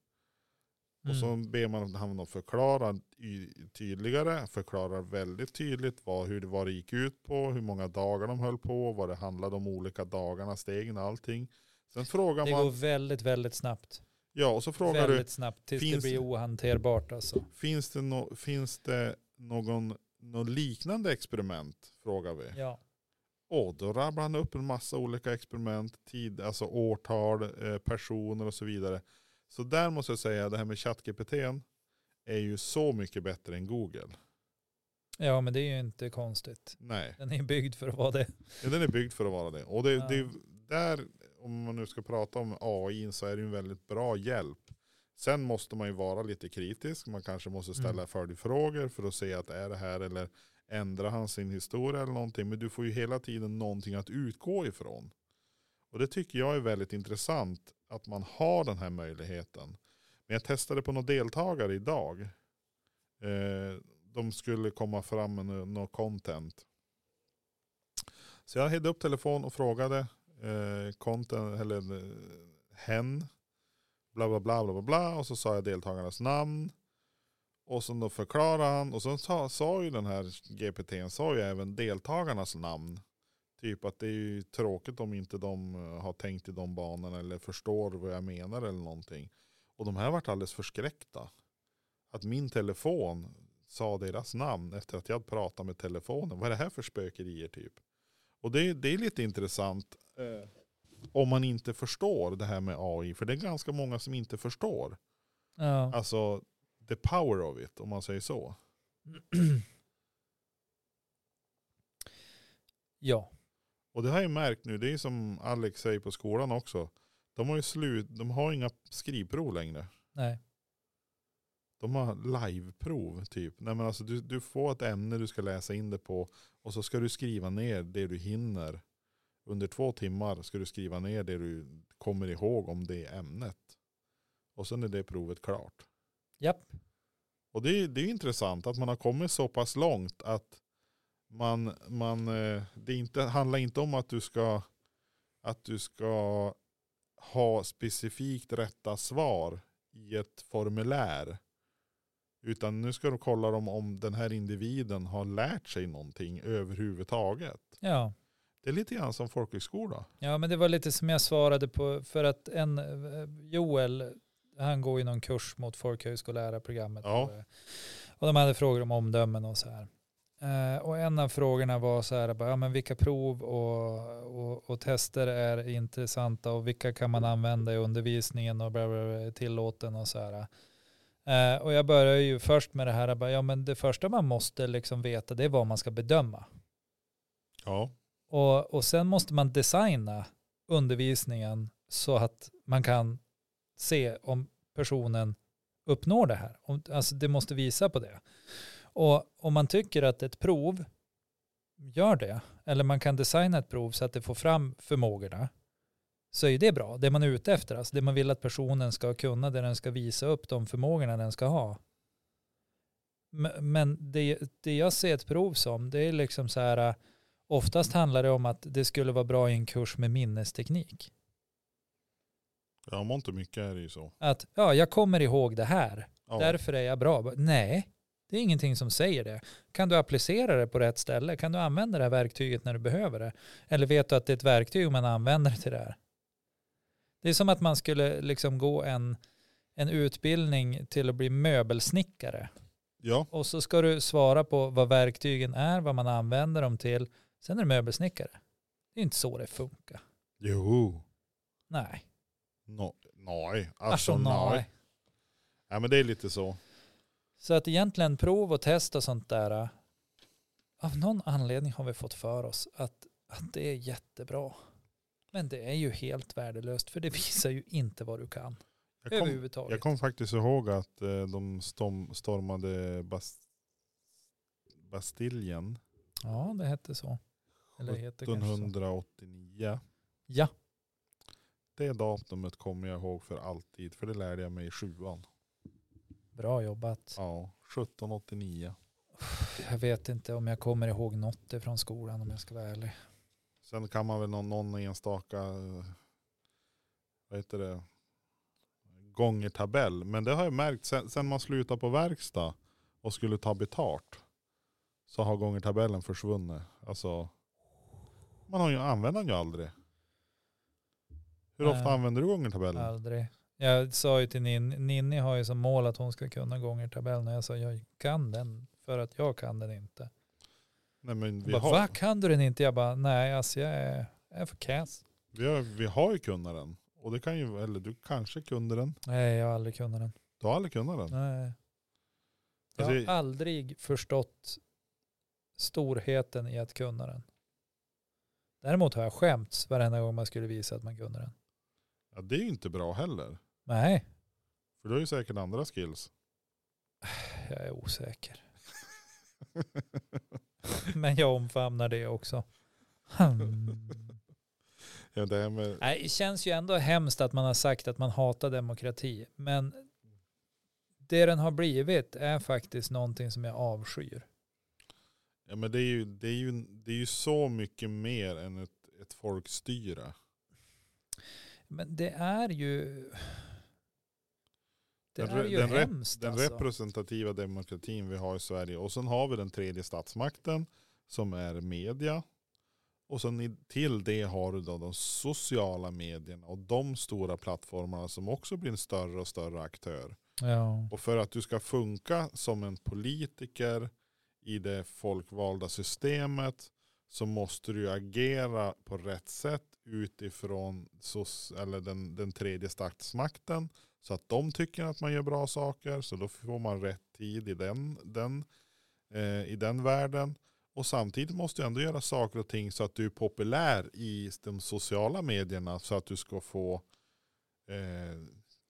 Speaker 1: Och så
Speaker 2: Mm.
Speaker 1: ber man honom att förklara y- tydligare, förklarar väldigt tydligt vad, hur det, vad det gick ut på, hur många dagar de höll på, vad det handlade om, olika dagarna, stegen, allting. Sen frågar
Speaker 2: Det går
Speaker 1: man,
Speaker 2: väldigt, väldigt snabbt.
Speaker 1: ja och så frågar du,
Speaker 2: Väldigt snabbt tills
Speaker 1: finns-
Speaker 2: det blir ohanterbart alltså.
Speaker 1: Finns det, nå- finns det någon, någon liknande experiment? Frågar vi.
Speaker 2: Ja.
Speaker 1: Och då rabblar han upp en massa olika experiment, tid, alltså årtal, eh, personer och så vidare. Så där måste jag säga, det här med ChatGPT n är ju så mycket bättre än Google.
Speaker 2: ja, men det är ju inte konstigt.
Speaker 1: Nej,
Speaker 2: Den är byggd för att vara det.
Speaker 1: men den är byggd för att vara det. Och det,
Speaker 2: Ja.
Speaker 1: det där, om man nu ska prata om AI, så är det ju en väldigt bra hjälp. Sen måste man ju vara lite kritisk. Man kanske måste ställa
Speaker 2: Mm.
Speaker 1: följdfrågor för att se att är det här eller ändrar han sin historia eller någonting. Men du får ju hela tiden någonting att utgå ifrån. Och det tycker jag är väldigt intressant att man har den här möjligheten. Men jag testade på några deltagare idag. Eh, de skulle komma fram med nå- något content. Så jag hängde upp telefon och frågade eh, content, eller eh, hen, bla bla bla bla bla bla. Och så sa jag deltagarnas namn. Och så då förklarade han. Och sen sa, sa ju den här GPTn, sa ju även deltagarnas namn. Typ att det är ju tråkigt om inte de eh, har tänkt i de banorna eller förstår vad jag menar eller någonting. Och de här vart alldeles förskräckta. Att min telefon sa deras namn efter att jag hade pratat med telefonen. Vad är det här för spökerier typ? Och det, det är lite intressant eh, om man inte förstår det här med AI. För det är ganska många som inte förstår.
Speaker 2: Ja.
Speaker 1: Alltså the power of it om man säger så.
Speaker 2: ja.
Speaker 1: Och det har jag ju märkt nu. Det är ju som Alex säger på skolan också. De har ju slut, de har inga skrivprov längre.
Speaker 2: Nej.
Speaker 1: De har liveprov typ. Nej, men alltså, du, du får ett ämne du ska läsa in det på och så ska du skriva ner det du hinner. Under två timmar ska du skriva ner det du kommer ihåg om det ämnet. Och sen är det provet klart.
Speaker 2: Japp.
Speaker 1: Och det, är- det är intressant att man har kommit så pass långt att man, man, eh, det är inte, handlar inte om att du ska, att du ska ha specifikt rätta svar i ett formulär. Utan nu ska de kolla om, om den här individen har lärt sig någonting överhuvudtaget.
Speaker 2: Ja.
Speaker 1: Det är lite grann som folkhögskola.
Speaker 2: Ja, men det var lite som jag svarade på för att en eh, Joel, han går ju någon kurs mot folkhögskollärarprogrammet.
Speaker 1: Ja.
Speaker 2: Och, eh, Och de hade frågor om omdömen och så här. Eh, och en av frågorna var så här, bara, ja, men vilka prov och, och, och tester är intressanta och vilka kan man använda i undervisningen och bla bla bla, är tillåten och så här. Eh, och jag börjar ju först med det här, bara, ja, men det första man måste liksom veta det är vad man ska bedöma.
Speaker 1: Ja.
Speaker 2: Och, och sen måste man designa undervisningen så att man kan se om personen uppnår det här. Om, alltså det måste visa på det. Och om man tycker att ett prov gör det, eller man kan designa ett prov så att det får fram förmågorna, så är det bra. Det man är ute efter, alltså det man vill att personen ska kunna, det den ska visa upp, de förmågorna den ska ha. Men- Men det, det jag ser ett prov som, det är liksom så här, äh, oftast handlar det om att det skulle vara bra i en kurs med minnesteknik.
Speaker 1: Ja, mångt och mycket är det ju så.
Speaker 2: Att ja, jag kommer ihåg det här,
Speaker 1: Ja.
Speaker 2: därför är jag bra. Bara, Nej, det är ingenting som säger det. Kan du applicera det på rätt ställe? Kan du använda det här verktyget när du behöver det? Eller vet du att det är ett verktyg man använder till det här? Det är som att man skulle liksom gå en, en utbildning till att bli möbelsnickare.
Speaker 1: ja.
Speaker 2: Och så ska du svara på vad verktygen är, vad man använder dem till. Sen är du möbelsnickare. Det är inte så det funkar.
Speaker 1: Jo.
Speaker 2: Nej.
Speaker 1: No, nej.
Speaker 2: Alltså, nej.
Speaker 1: Ja, men det är lite så.
Speaker 2: Så att egentligen prov och test och sånt där. eh, Av någon anledning har vi fått för oss att, att det är jättebra. Men det är ju helt värdelöst för det visar ju inte vad du kan
Speaker 1: Jag kom-
Speaker 2: överhuvudtaget.
Speaker 1: Jag kommer faktiskt ihåg att eh, de storm, stormade Bas, Bastiljen
Speaker 2: Ja, det hette så. Eller heter kanske så.
Speaker 1: 1789.
Speaker 2: Ja,
Speaker 1: Det datumet kommer jag ihåg för alltid, för det lärde jag mig i sjuan.
Speaker 2: bra jobbat.
Speaker 1: Ja, 1789.
Speaker 2: Jag vet inte om jag kommer ihåg något från skolan om jag ska vara ärlig.
Speaker 1: Sen kan man väl någon, någon enstaka, eh, vad heter det, gångertabell. Men det har jag märkt sen, sen man slutade på verkstad och skulle ta betalt så har gångertabellen försvunnit. Alltså, man har ju, använder den ju aldrig. Hur ofta
Speaker 2: Nej.
Speaker 1: använder du gångertabellen?
Speaker 2: Aldrig. Jag sa ju till Ninni, Ninni har ju som mål att hon ska kunna gångertabellen och jag sa jag kan den för att jag kan den inte.
Speaker 1: Nej, men vi,
Speaker 2: bara,
Speaker 1: har,
Speaker 2: Va, kan du den inte? Jag bara, nej alltså jag är, jag är för kass.
Speaker 1: vi, har, vi har ju kunnat den. Och det kan ju, eller du kanske kunde den.
Speaker 2: Nej, jag har aldrig kunnat den.
Speaker 1: Du har aldrig kunnat den.
Speaker 2: Nej. Jag
Speaker 1: Alltså,
Speaker 2: har
Speaker 1: jag-
Speaker 2: aldrig förstått storheten i att kunna den. Däremot har jag skämts varenda gång man skulle visa att man kunde den.
Speaker 1: Ja, det är ju inte bra heller.
Speaker 2: Nej,
Speaker 1: För du har ju säkert andra skills.
Speaker 2: Jag är osäker. Men jag omfamnar det också. Hmm.
Speaker 1: Ja, det här med,
Speaker 2: Nej, det känns ju ändå hemskt att man har sagt att man hatar demokrati. Men det den har blivit är faktiskt någonting som jag avskyr.
Speaker 1: ja, men det, är ju, det, är ju, det är ju så mycket mer än ett, ett folkstyre.
Speaker 2: Men det är ju... Det
Speaker 1: Den
Speaker 2: är
Speaker 1: re-
Speaker 2: ju
Speaker 1: den rep-
Speaker 2: hemskt
Speaker 1: Den
Speaker 2: alltså.
Speaker 1: representativa demokratin vi har i Sverige. Och sen har vi den tredje statsmakten som är media. Och sen i- till det har du då de sociala medierna och de stora plattformarna som också blir en större och större aktör.
Speaker 2: Ja.
Speaker 1: Och för att du ska funka som en politiker i det folkvalda systemet så måste du ju agera på rätt sätt utifrån sos, eller den, den tredje statsmakten så att de tycker att man gör bra saker så då får man rätt tid i den, den, eh, i den världen. Och samtidigt måste du ändå göra saker och ting så att du är populär i de sociala medierna så att du ska få eh,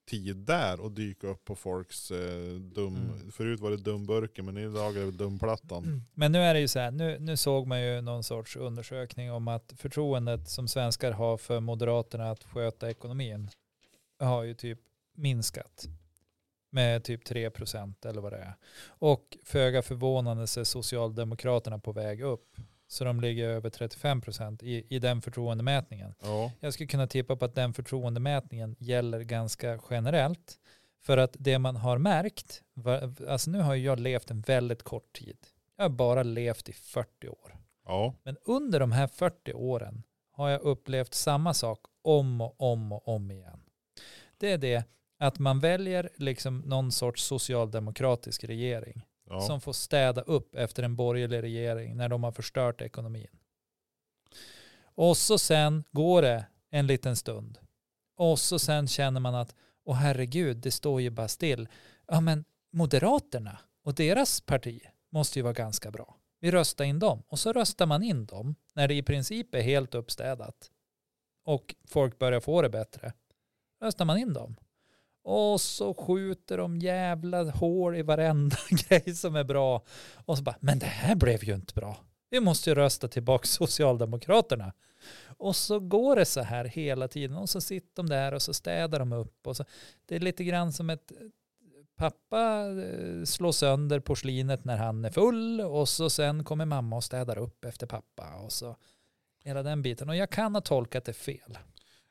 Speaker 1: tid där och dyka upp på folks eh, dum...
Speaker 2: Mm.
Speaker 1: Förut var det dumburken men idag är det dumplattan.
Speaker 2: Mm. Men nu är det ju så här, nu, nu såg man ju någon sorts undersökning om att förtroendet som svenskar har för Moderaterna att sköta ekonomin har ju typ minskat med typ 3 procent eller vad det är. Och föga förvånande så är Socialdemokraterna på väg upp. Så de ligger över 35 procent i, i den förtroendemätningen.
Speaker 1: Ja.
Speaker 2: Jag skulle kunna tippa på att den förtroendemätningen gäller ganska generellt. För att det man har märkt, va- alltså nu har ju jag levt en väldigt kort tid. Jag har bara levt i 40 år.
Speaker 1: ja.
Speaker 2: Men under de här 40 åren har jag upplevt samma sak om och om och om igen. Det är det att man väljer liksom någon sorts socialdemokratisk regering
Speaker 1: ja.
Speaker 2: som får städa upp efter en borgerlig regering när de har förstört ekonomin. Och så sen går det en liten stund. Och så sen känner man att, åh herregud, det står ju bara still. Ja men Moderaterna och deras parti måste ju vara ganska bra. Vi röstar in dem. Och så röstar man in dem när det i princip är helt uppstädat. Och folk börjar få det bättre. Röstar man in dem. Och så skjuter de jävla hål i varenda grej som är bra. Och så bara, men det här blev ju inte bra. Vi måste ju rösta tillbaka Socialdemokraterna. Och så går det så här hela tiden. Och så sitter de där och så städar de upp. Och så. Det är lite grann som ett pappa eh, slår sönder porslinet när han är full. Och så sen kommer mamma och städar upp efter pappa. Och så hela den biten. Och jag kan ha tolkat det fel.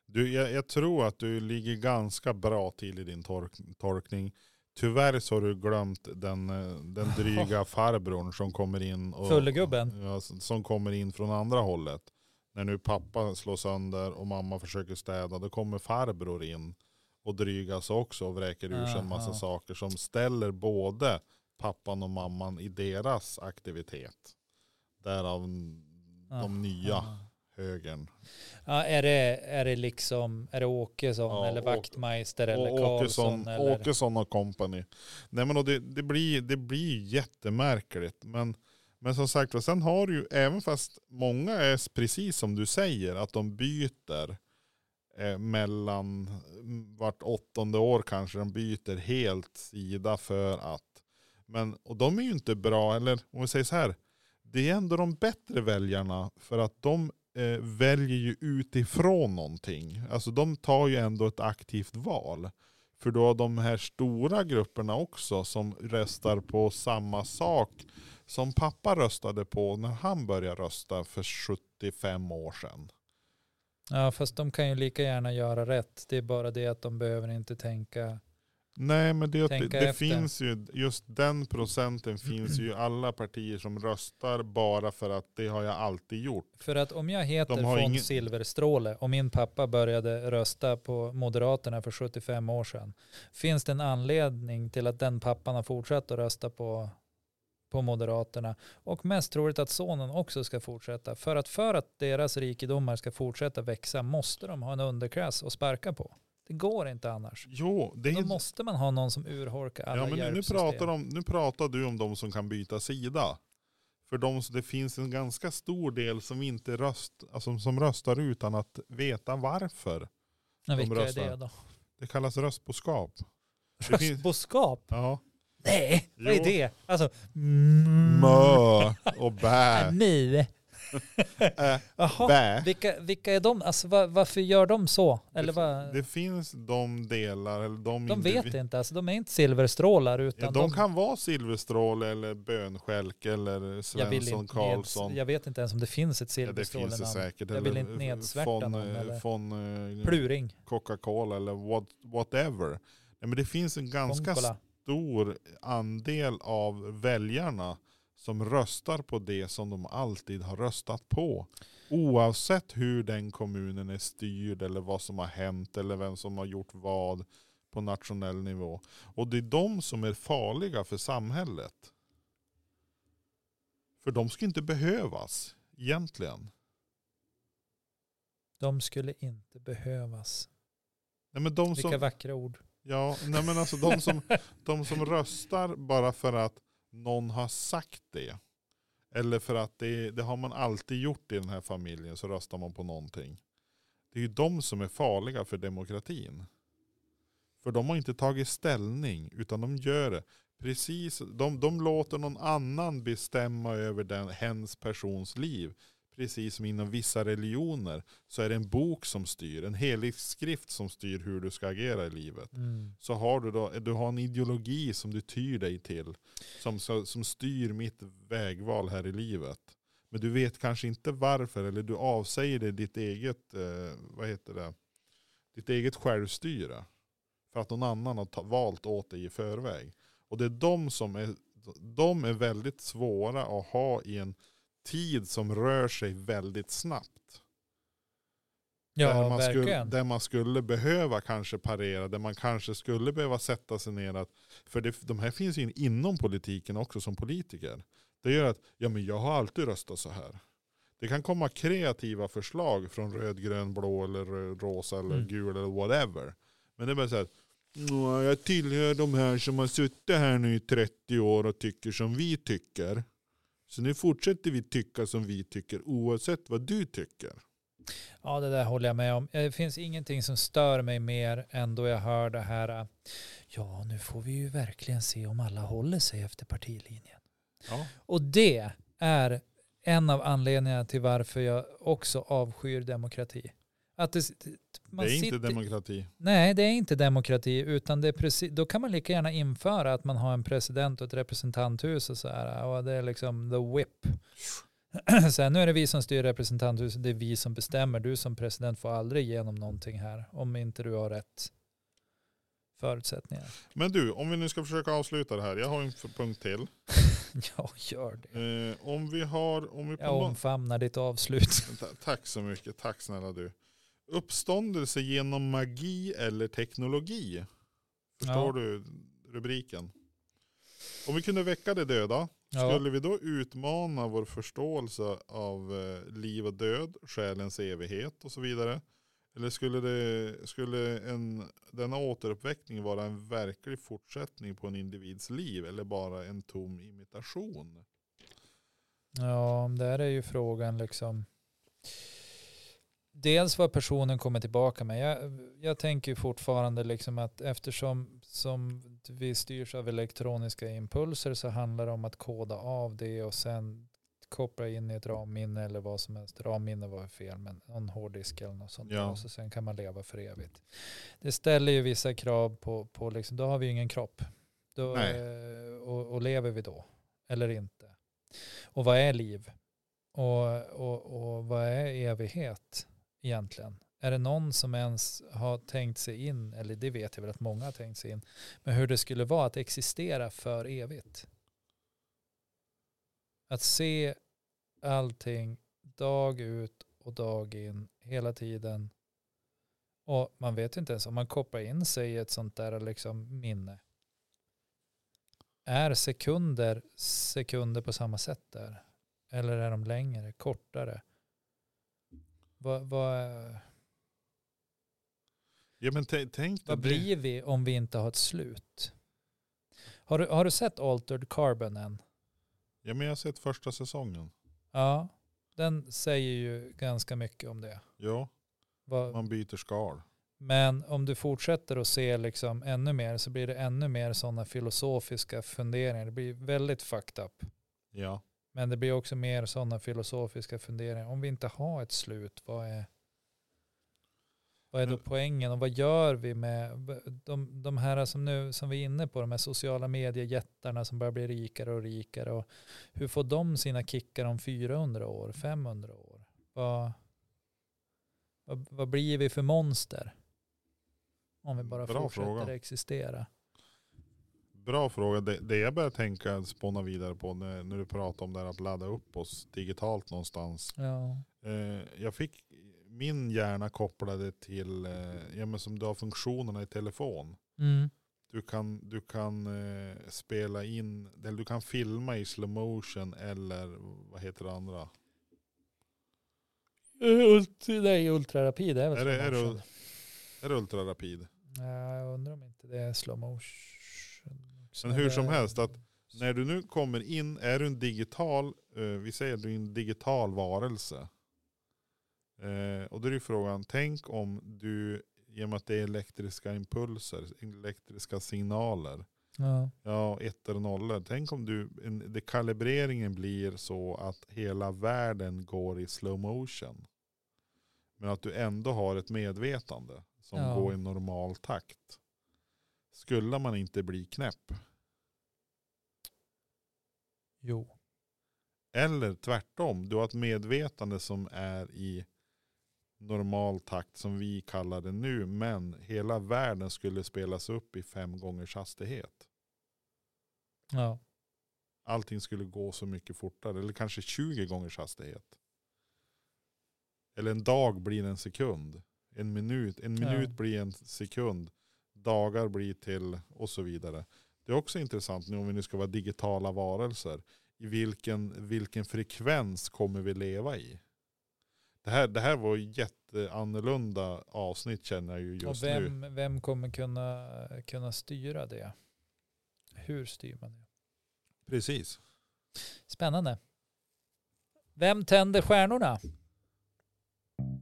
Speaker 1: Du, jag, jag tror att du ligger ganska bra till i din tork, torkning. Tyvärr så har du glömt den, eh, den dryga farbrorn som kommer in. Och,
Speaker 2: Fullegubben.
Speaker 1: Ja, som som kommer in från andra hållet. När nu pappa slår sönder och mamma försöker städa, då kommer farbror in och drygas också och vräker ur sig en massa
Speaker 2: Aha.
Speaker 1: saker som ställer både pappan och mamman i deras aktivitet. Därav
Speaker 2: Ah,
Speaker 1: de nya högern.
Speaker 2: Ja, är det, är det liksom, är det Åkesson
Speaker 1: Ja,
Speaker 2: eller
Speaker 1: Åk-
Speaker 2: Wachtmeister eller
Speaker 1: och
Speaker 2: Karlsson?
Speaker 1: Åkesson,
Speaker 2: Eller?
Speaker 1: Åkesson och company. Nej men och det, det, blir, det blir jättemärkligt. Men, men som sagt, och sen har du ju, även fast många är s- precis som du säger, att de byter eh, mellan mm, vart åttonde år kanske de byter helt sida för att. Men, och de är ju inte bra, eller om vi säger så här, det är ändå de bättre väljarna för att de eh, väljer ju utifrån någonting. Alltså de tar ju ändå ett aktivt val. För då har de här stora grupperna också som röstar på samma sak som pappa röstade på när han började rösta för 75 år sedan.
Speaker 2: Ja, fast de kan ju lika gärna göra rätt. Det är bara det att de behöver inte tänka.
Speaker 1: Nej men det, det,
Speaker 2: Tänka
Speaker 1: det
Speaker 2: efter.
Speaker 1: finns ju, just den procenten finns ju i alla partier som röstar bara för att det har jag alltid gjort.
Speaker 2: För att om jag heter
Speaker 1: De har
Speaker 2: von
Speaker 1: ingen-
Speaker 2: Silverstråle och min pappa började rösta på Moderaterna för 75 år sedan. Finns det en anledning till att den pappan har fortsatt att rösta på, på Moderaterna? Och mest troligt att sonen också ska fortsätta. För att för att deras rikedomar ska fortsätta växa måste de ha en underklass att sparka på. Det går inte annars.
Speaker 1: Jo, det
Speaker 2: Då
Speaker 1: är,
Speaker 2: måste man ha någon som urholkar alla
Speaker 1: ja, men nu- nu,
Speaker 2: hjälpsystem.
Speaker 1: pratar de, nu pratar du om de som kan byta sida. För de, det finns en ganska stor del som, inte röst, alltså, som röstar utan att veta varför.
Speaker 2: Ja, vilka är
Speaker 1: röstar.
Speaker 2: det då?
Speaker 1: Det kallas röstboskap. Det finns-
Speaker 2: Röstboskap?
Speaker 1: Ja.
Speaker 2: Nej, vad
Speaker 1: Jo.
Speaker 2: är det? Alltså, mm,
Speaker 1: Mö och bä.
Speaker 2: mu.
Speaker 1: Ä,
Speaker 2: Jaha,
Speaker 1: bä.
Speaker 2: vilka, vilka är de? Alltså, va, varför gör de så? Eller vad?
Speaker 1: Det finns de delar, eller de
Speaker 2: De
Speaker 1: individ-
Speaker 2: vet inte, alltså, de är inte silverstrålar utan
Speaker 1: Ja, de kan vara silverstråle eller bönstjälk eller
Speaker 2: jag, vill
Speaker 1: Svensson
Speaker 2: inte
Speaker 1: Karlsson.
Speaker 2: neds, jag vet inte ens om det finns ett
Speaker 1: Ja, det
Speaker 2: silverstråle
Speaker 1: finns det säkert.
Speaker 2: Jag vill inte nedsvärta
Speaker 1: från,
Speaker 2: någon, eller-
Speaker 1: från eh,
Speaker 2: Pluring,
Speaker 1: Coca-Cola eller what, whatever. Nej, men det finns en ganska
Speaker 2: Konkola.
Speaker 1: stor andel av väljarna som röstar på det som de alltid har röstat på. Oavsett hur den kommunen är styrd eller vad som har hänt eller vem som har gjort vad på nationell nivå. Och det är de som är farliga för samhället. För de ska inte behövas egentligen.
Speaker 2: de skulle inte behövas.
Speaker 1: Nej, men de som,
Speaker 2: Vilka vackra ord.
Speaker 1: Ja, nej men alltså de som, de som röstar bara för att någon har sagt det. Eller för att det, det har man alltid gjort i den här familjen så röstar man på någonting. Det är ju de som är farliga för demokratin. För de har inte tagit ställning utan de gör det. Precis, de, de låter någon annan bestämma över den, hens persons liv. Precis som inom vissa religioner så är det en bok som styr, en helig skrift som styr hur du ska agera i livet
Speaker 2: Mm.
Speaker 1: så har du då du har en ideologi som du tyr dig till. Som, som, som styr mitt vägval här i livet. Men du vet kanske inte varför eller du avsäger dig ditt eget, eh, vad heter det, ditt eget självstyre. För att någon annan har ta, valt åt dig i förväg. Och det är de som är, de är väldigt svåra att ha i en tid som rör sig väldigt snabbt där,
Speaker 2: Ja,
Speaker 1: man skulle,
Speaker 2: verkligen.
Speaker 1: där man skulle behöva kanske parera, där man kanske skulle behöva sätta sig ner. Att, för det, de här finns ju in- inom politiken också som politiker. Det gör att, ja men jag har alltid röstat så här. Det kan komma kreativa förslag från röd, grön, blå eller rö- rosa eller
Speaker 2: Mm.
Speaker 1: gul eller whatever. Men det är bara så här, "Nå, jag tillhör de här som har suttit här nu i 30 år och tycker som vi tycker. Så nu fortsätter vi tycka som vi tycker oavsett vad du tycker.
Speaker 2: Ja, det där håller jag med om. Eh, Det finns ingenting som stör mig mer än då jag hör det här. eh, Ja, nu får vi ju verkligen se om alla håller sig efter partilinjen.
Speaker 1: Ja.
Speaker 2: Och det är en av anledningarna till varför jag också avskyr demokrati. Att det, man
Speaker 1: det är
Speaker 2: sitter,
Speaker 1: inte demokrati.
Speaker 2: Nej, det är inte demokrati, utan det är precis, då kan man lika gärna införa att man har en president och ett representanthus och så här. Och det är liksom the whip. Så här, nu är det vi som styr representanthuset, det är vi som bestämmer. Du som president får aldrig igenom någonting här om inte du har rätt förutsättningar.
Speaker 1: Men du, om vi nu ska försöka avsluta det här. Jag har en f- punkt till.
Speaker 2: Ja, gör det.
Speaker 1: Eh, om vi har... Om vi på
Speaker 2: Jag
Speaker 1: någon,
Speaker 2: omfamnar ditt avslut.
Speaker 1: Ta- tack så mycket. Tack snälla du. Uppståndelse genom magi eller teknologi. Förstår du rubriken? Om vi kunde väcka de döda,
Speaker 2: Ja,
Speaker 1: skulle vi då utmana vår förståelse av eh, liv och död, själens evighet och så vidare? Eller skulle, det, skulle en, denna återuppväckning vara en verklig fortsättning på en individs liv eller bara en tom imitation?
Speaker 2: ja, där är ju frågan liksom. Dels vad personen kommer tillbaka med. Jag, jag tänker ju fortfarande liksom att eftersom som vi styrs av elektroniska impulser så handlar det om att koda av det och sen koppla in i ett ramminne eller vad som helst. Ramminne var ju fel, men någon hårddisk eller något sånt.
Speaker 1: Ja.
Speaker 2: Och så sen kan man leva för evigt. Det ställer ju vissa krav på, på liksom, då har vi ju ingen kropp. Då,
Speaker 1: Nej.
Speaker 2: eh, och, och lever vi då? Eller inte? Och vad är liv? Och, och, och vad är evighet egentligen? Är det någon som ens har tänkt sig in, eller det vet jag väl att många har tänkt sig in, men hur det skulle vara att existera för evigt? Att se allting dag ut och dag in hela tiden. Och man vet ju inte ens om man kopplar in sig i ett sånt där liksom minne. Är sekunder sekunder på samma sätt där? Eller är de längre, kortare? Vad, vad,
Speaker 1: Ja men tä- tänk
Speaker 2: vad
Speaker 1: dig det.
Speaker 2: blir vi om vi inte har ett slut? Har du, har du sett Altered Carbon än?
Speaker 1: Ja men jag har sett första säsongen.
Speaker 2: Ja, den säger ju ganska mycket om det.
Speaker 1: Ja,
Speaker 2: Vad,
Speaker 1: man byter skal.
Speaker 2: Men om du fortsätter att se liksom ännu mer så blir det ännu mer sådana filosofiska funderingar. Det blir väldigt fucked up.
Speaker 1: Ja.
Speaker 2: Men det blir också mer sådana filosofiska funderingar. Om vi inte har ett slut, vad är, vad är då
Speaker 1: Men-
Speaker 2: poängen och vad gör vi med de, de här som nu som vi är inne på, de här sociala mediejättarna som börjar bli rikare och rikare och hur får de sina kickar om 400
Speaker 1: Mm.
Speaker 2: år, 500 år? Vad, vad, vad blir vi för monster? Om vi bara
Speaker 1: Bra
Speaker 2: fortsätter
Speaker 1: fråga.
Speaker 2: existera.
Speaker 1: Bra fråga. Det, det jag börjar tänka, spåna vidare på när, när du pratar om det här att ladda upp oss digitalt någonstans.
Speaker 2: Ja,
Speaker 1: Eh, jag fick min hjärna kopplade till, eh, ja men som du har funktionerna i telefon.
Speaker 2: mm.
Speaker 1: Du kan, du kan eh, spela in, eller du kan filma i slow motion eller vad heter det andra?
Speaker 2: Ultra, nej, ultrarapid är väl
Speaker 1: Är det,
Speaker 2: slow
Speaker 1: är,
Speaker 2: motion.
Speaker 1: det, är det ultrarapid?
Speaker 2: Nej, jag undrar om inte det är slow motion. också.
Speaker 1: Men hur
Speaker 2: Eller-
Speaker 1: som helst, att När du nu kommer in, är du en digital, eh, vi säger att du är en digital varelse. Eh, och då är ju frågan, tänk om du, genom att det är elektriska impulser, elektriska signaler,
Speaker 2: Ja,
Speaker 1: ja ettor och nollor, tänk om du, en, det kalibreringen blir så att hela världen går i slow motion. Men att du ändå har ett medvetande som
Speaker 2: Ja.
Speaker 1: går i normal takt. Skulle man inte bli knäpp?
Speaker 2: jo.
Speaker 1: Eller tvärtom, du har ett medvetande som är i normal takt som vi kallar det nu. Men hela världen skulle spelas upp i fem gångers hastighet.
Speaker 2: Ja.
Speaker 1: Allting skulle gå så mycket fortare. Eller kanske 20 gångers hastighet. Eller en dag blir en sekund. En minut, en
Speaker 2: Ja.
Speaker 1: minut blir en sekund. Dagar blir till och så vidare. Det är också intressant nu om vi nu ska vara digitala varelser. I vilken, vilken frekvens kommer vi leva i? Det här, det här var jätteannorlunda avsnitt känner jag ju just
Speaker 2: Och
Speaker 1: nu.
Speaker 2: vem, vem kommer kunna, kunna styra det? Hur styr man det?
Speaker 1: Precis.
Speaker 2: Spännande. Vem tänder stjärnorna?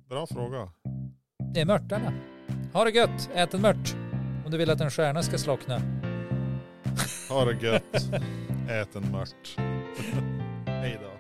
Speaker 1: Bra fråga.
Speaker 2: Det är mörtarna. Ha det gött, ät en mört. Om du vill att en stjärna ska slockna.
Speaker 1: Ha det gött. Ät en mört. Hej då.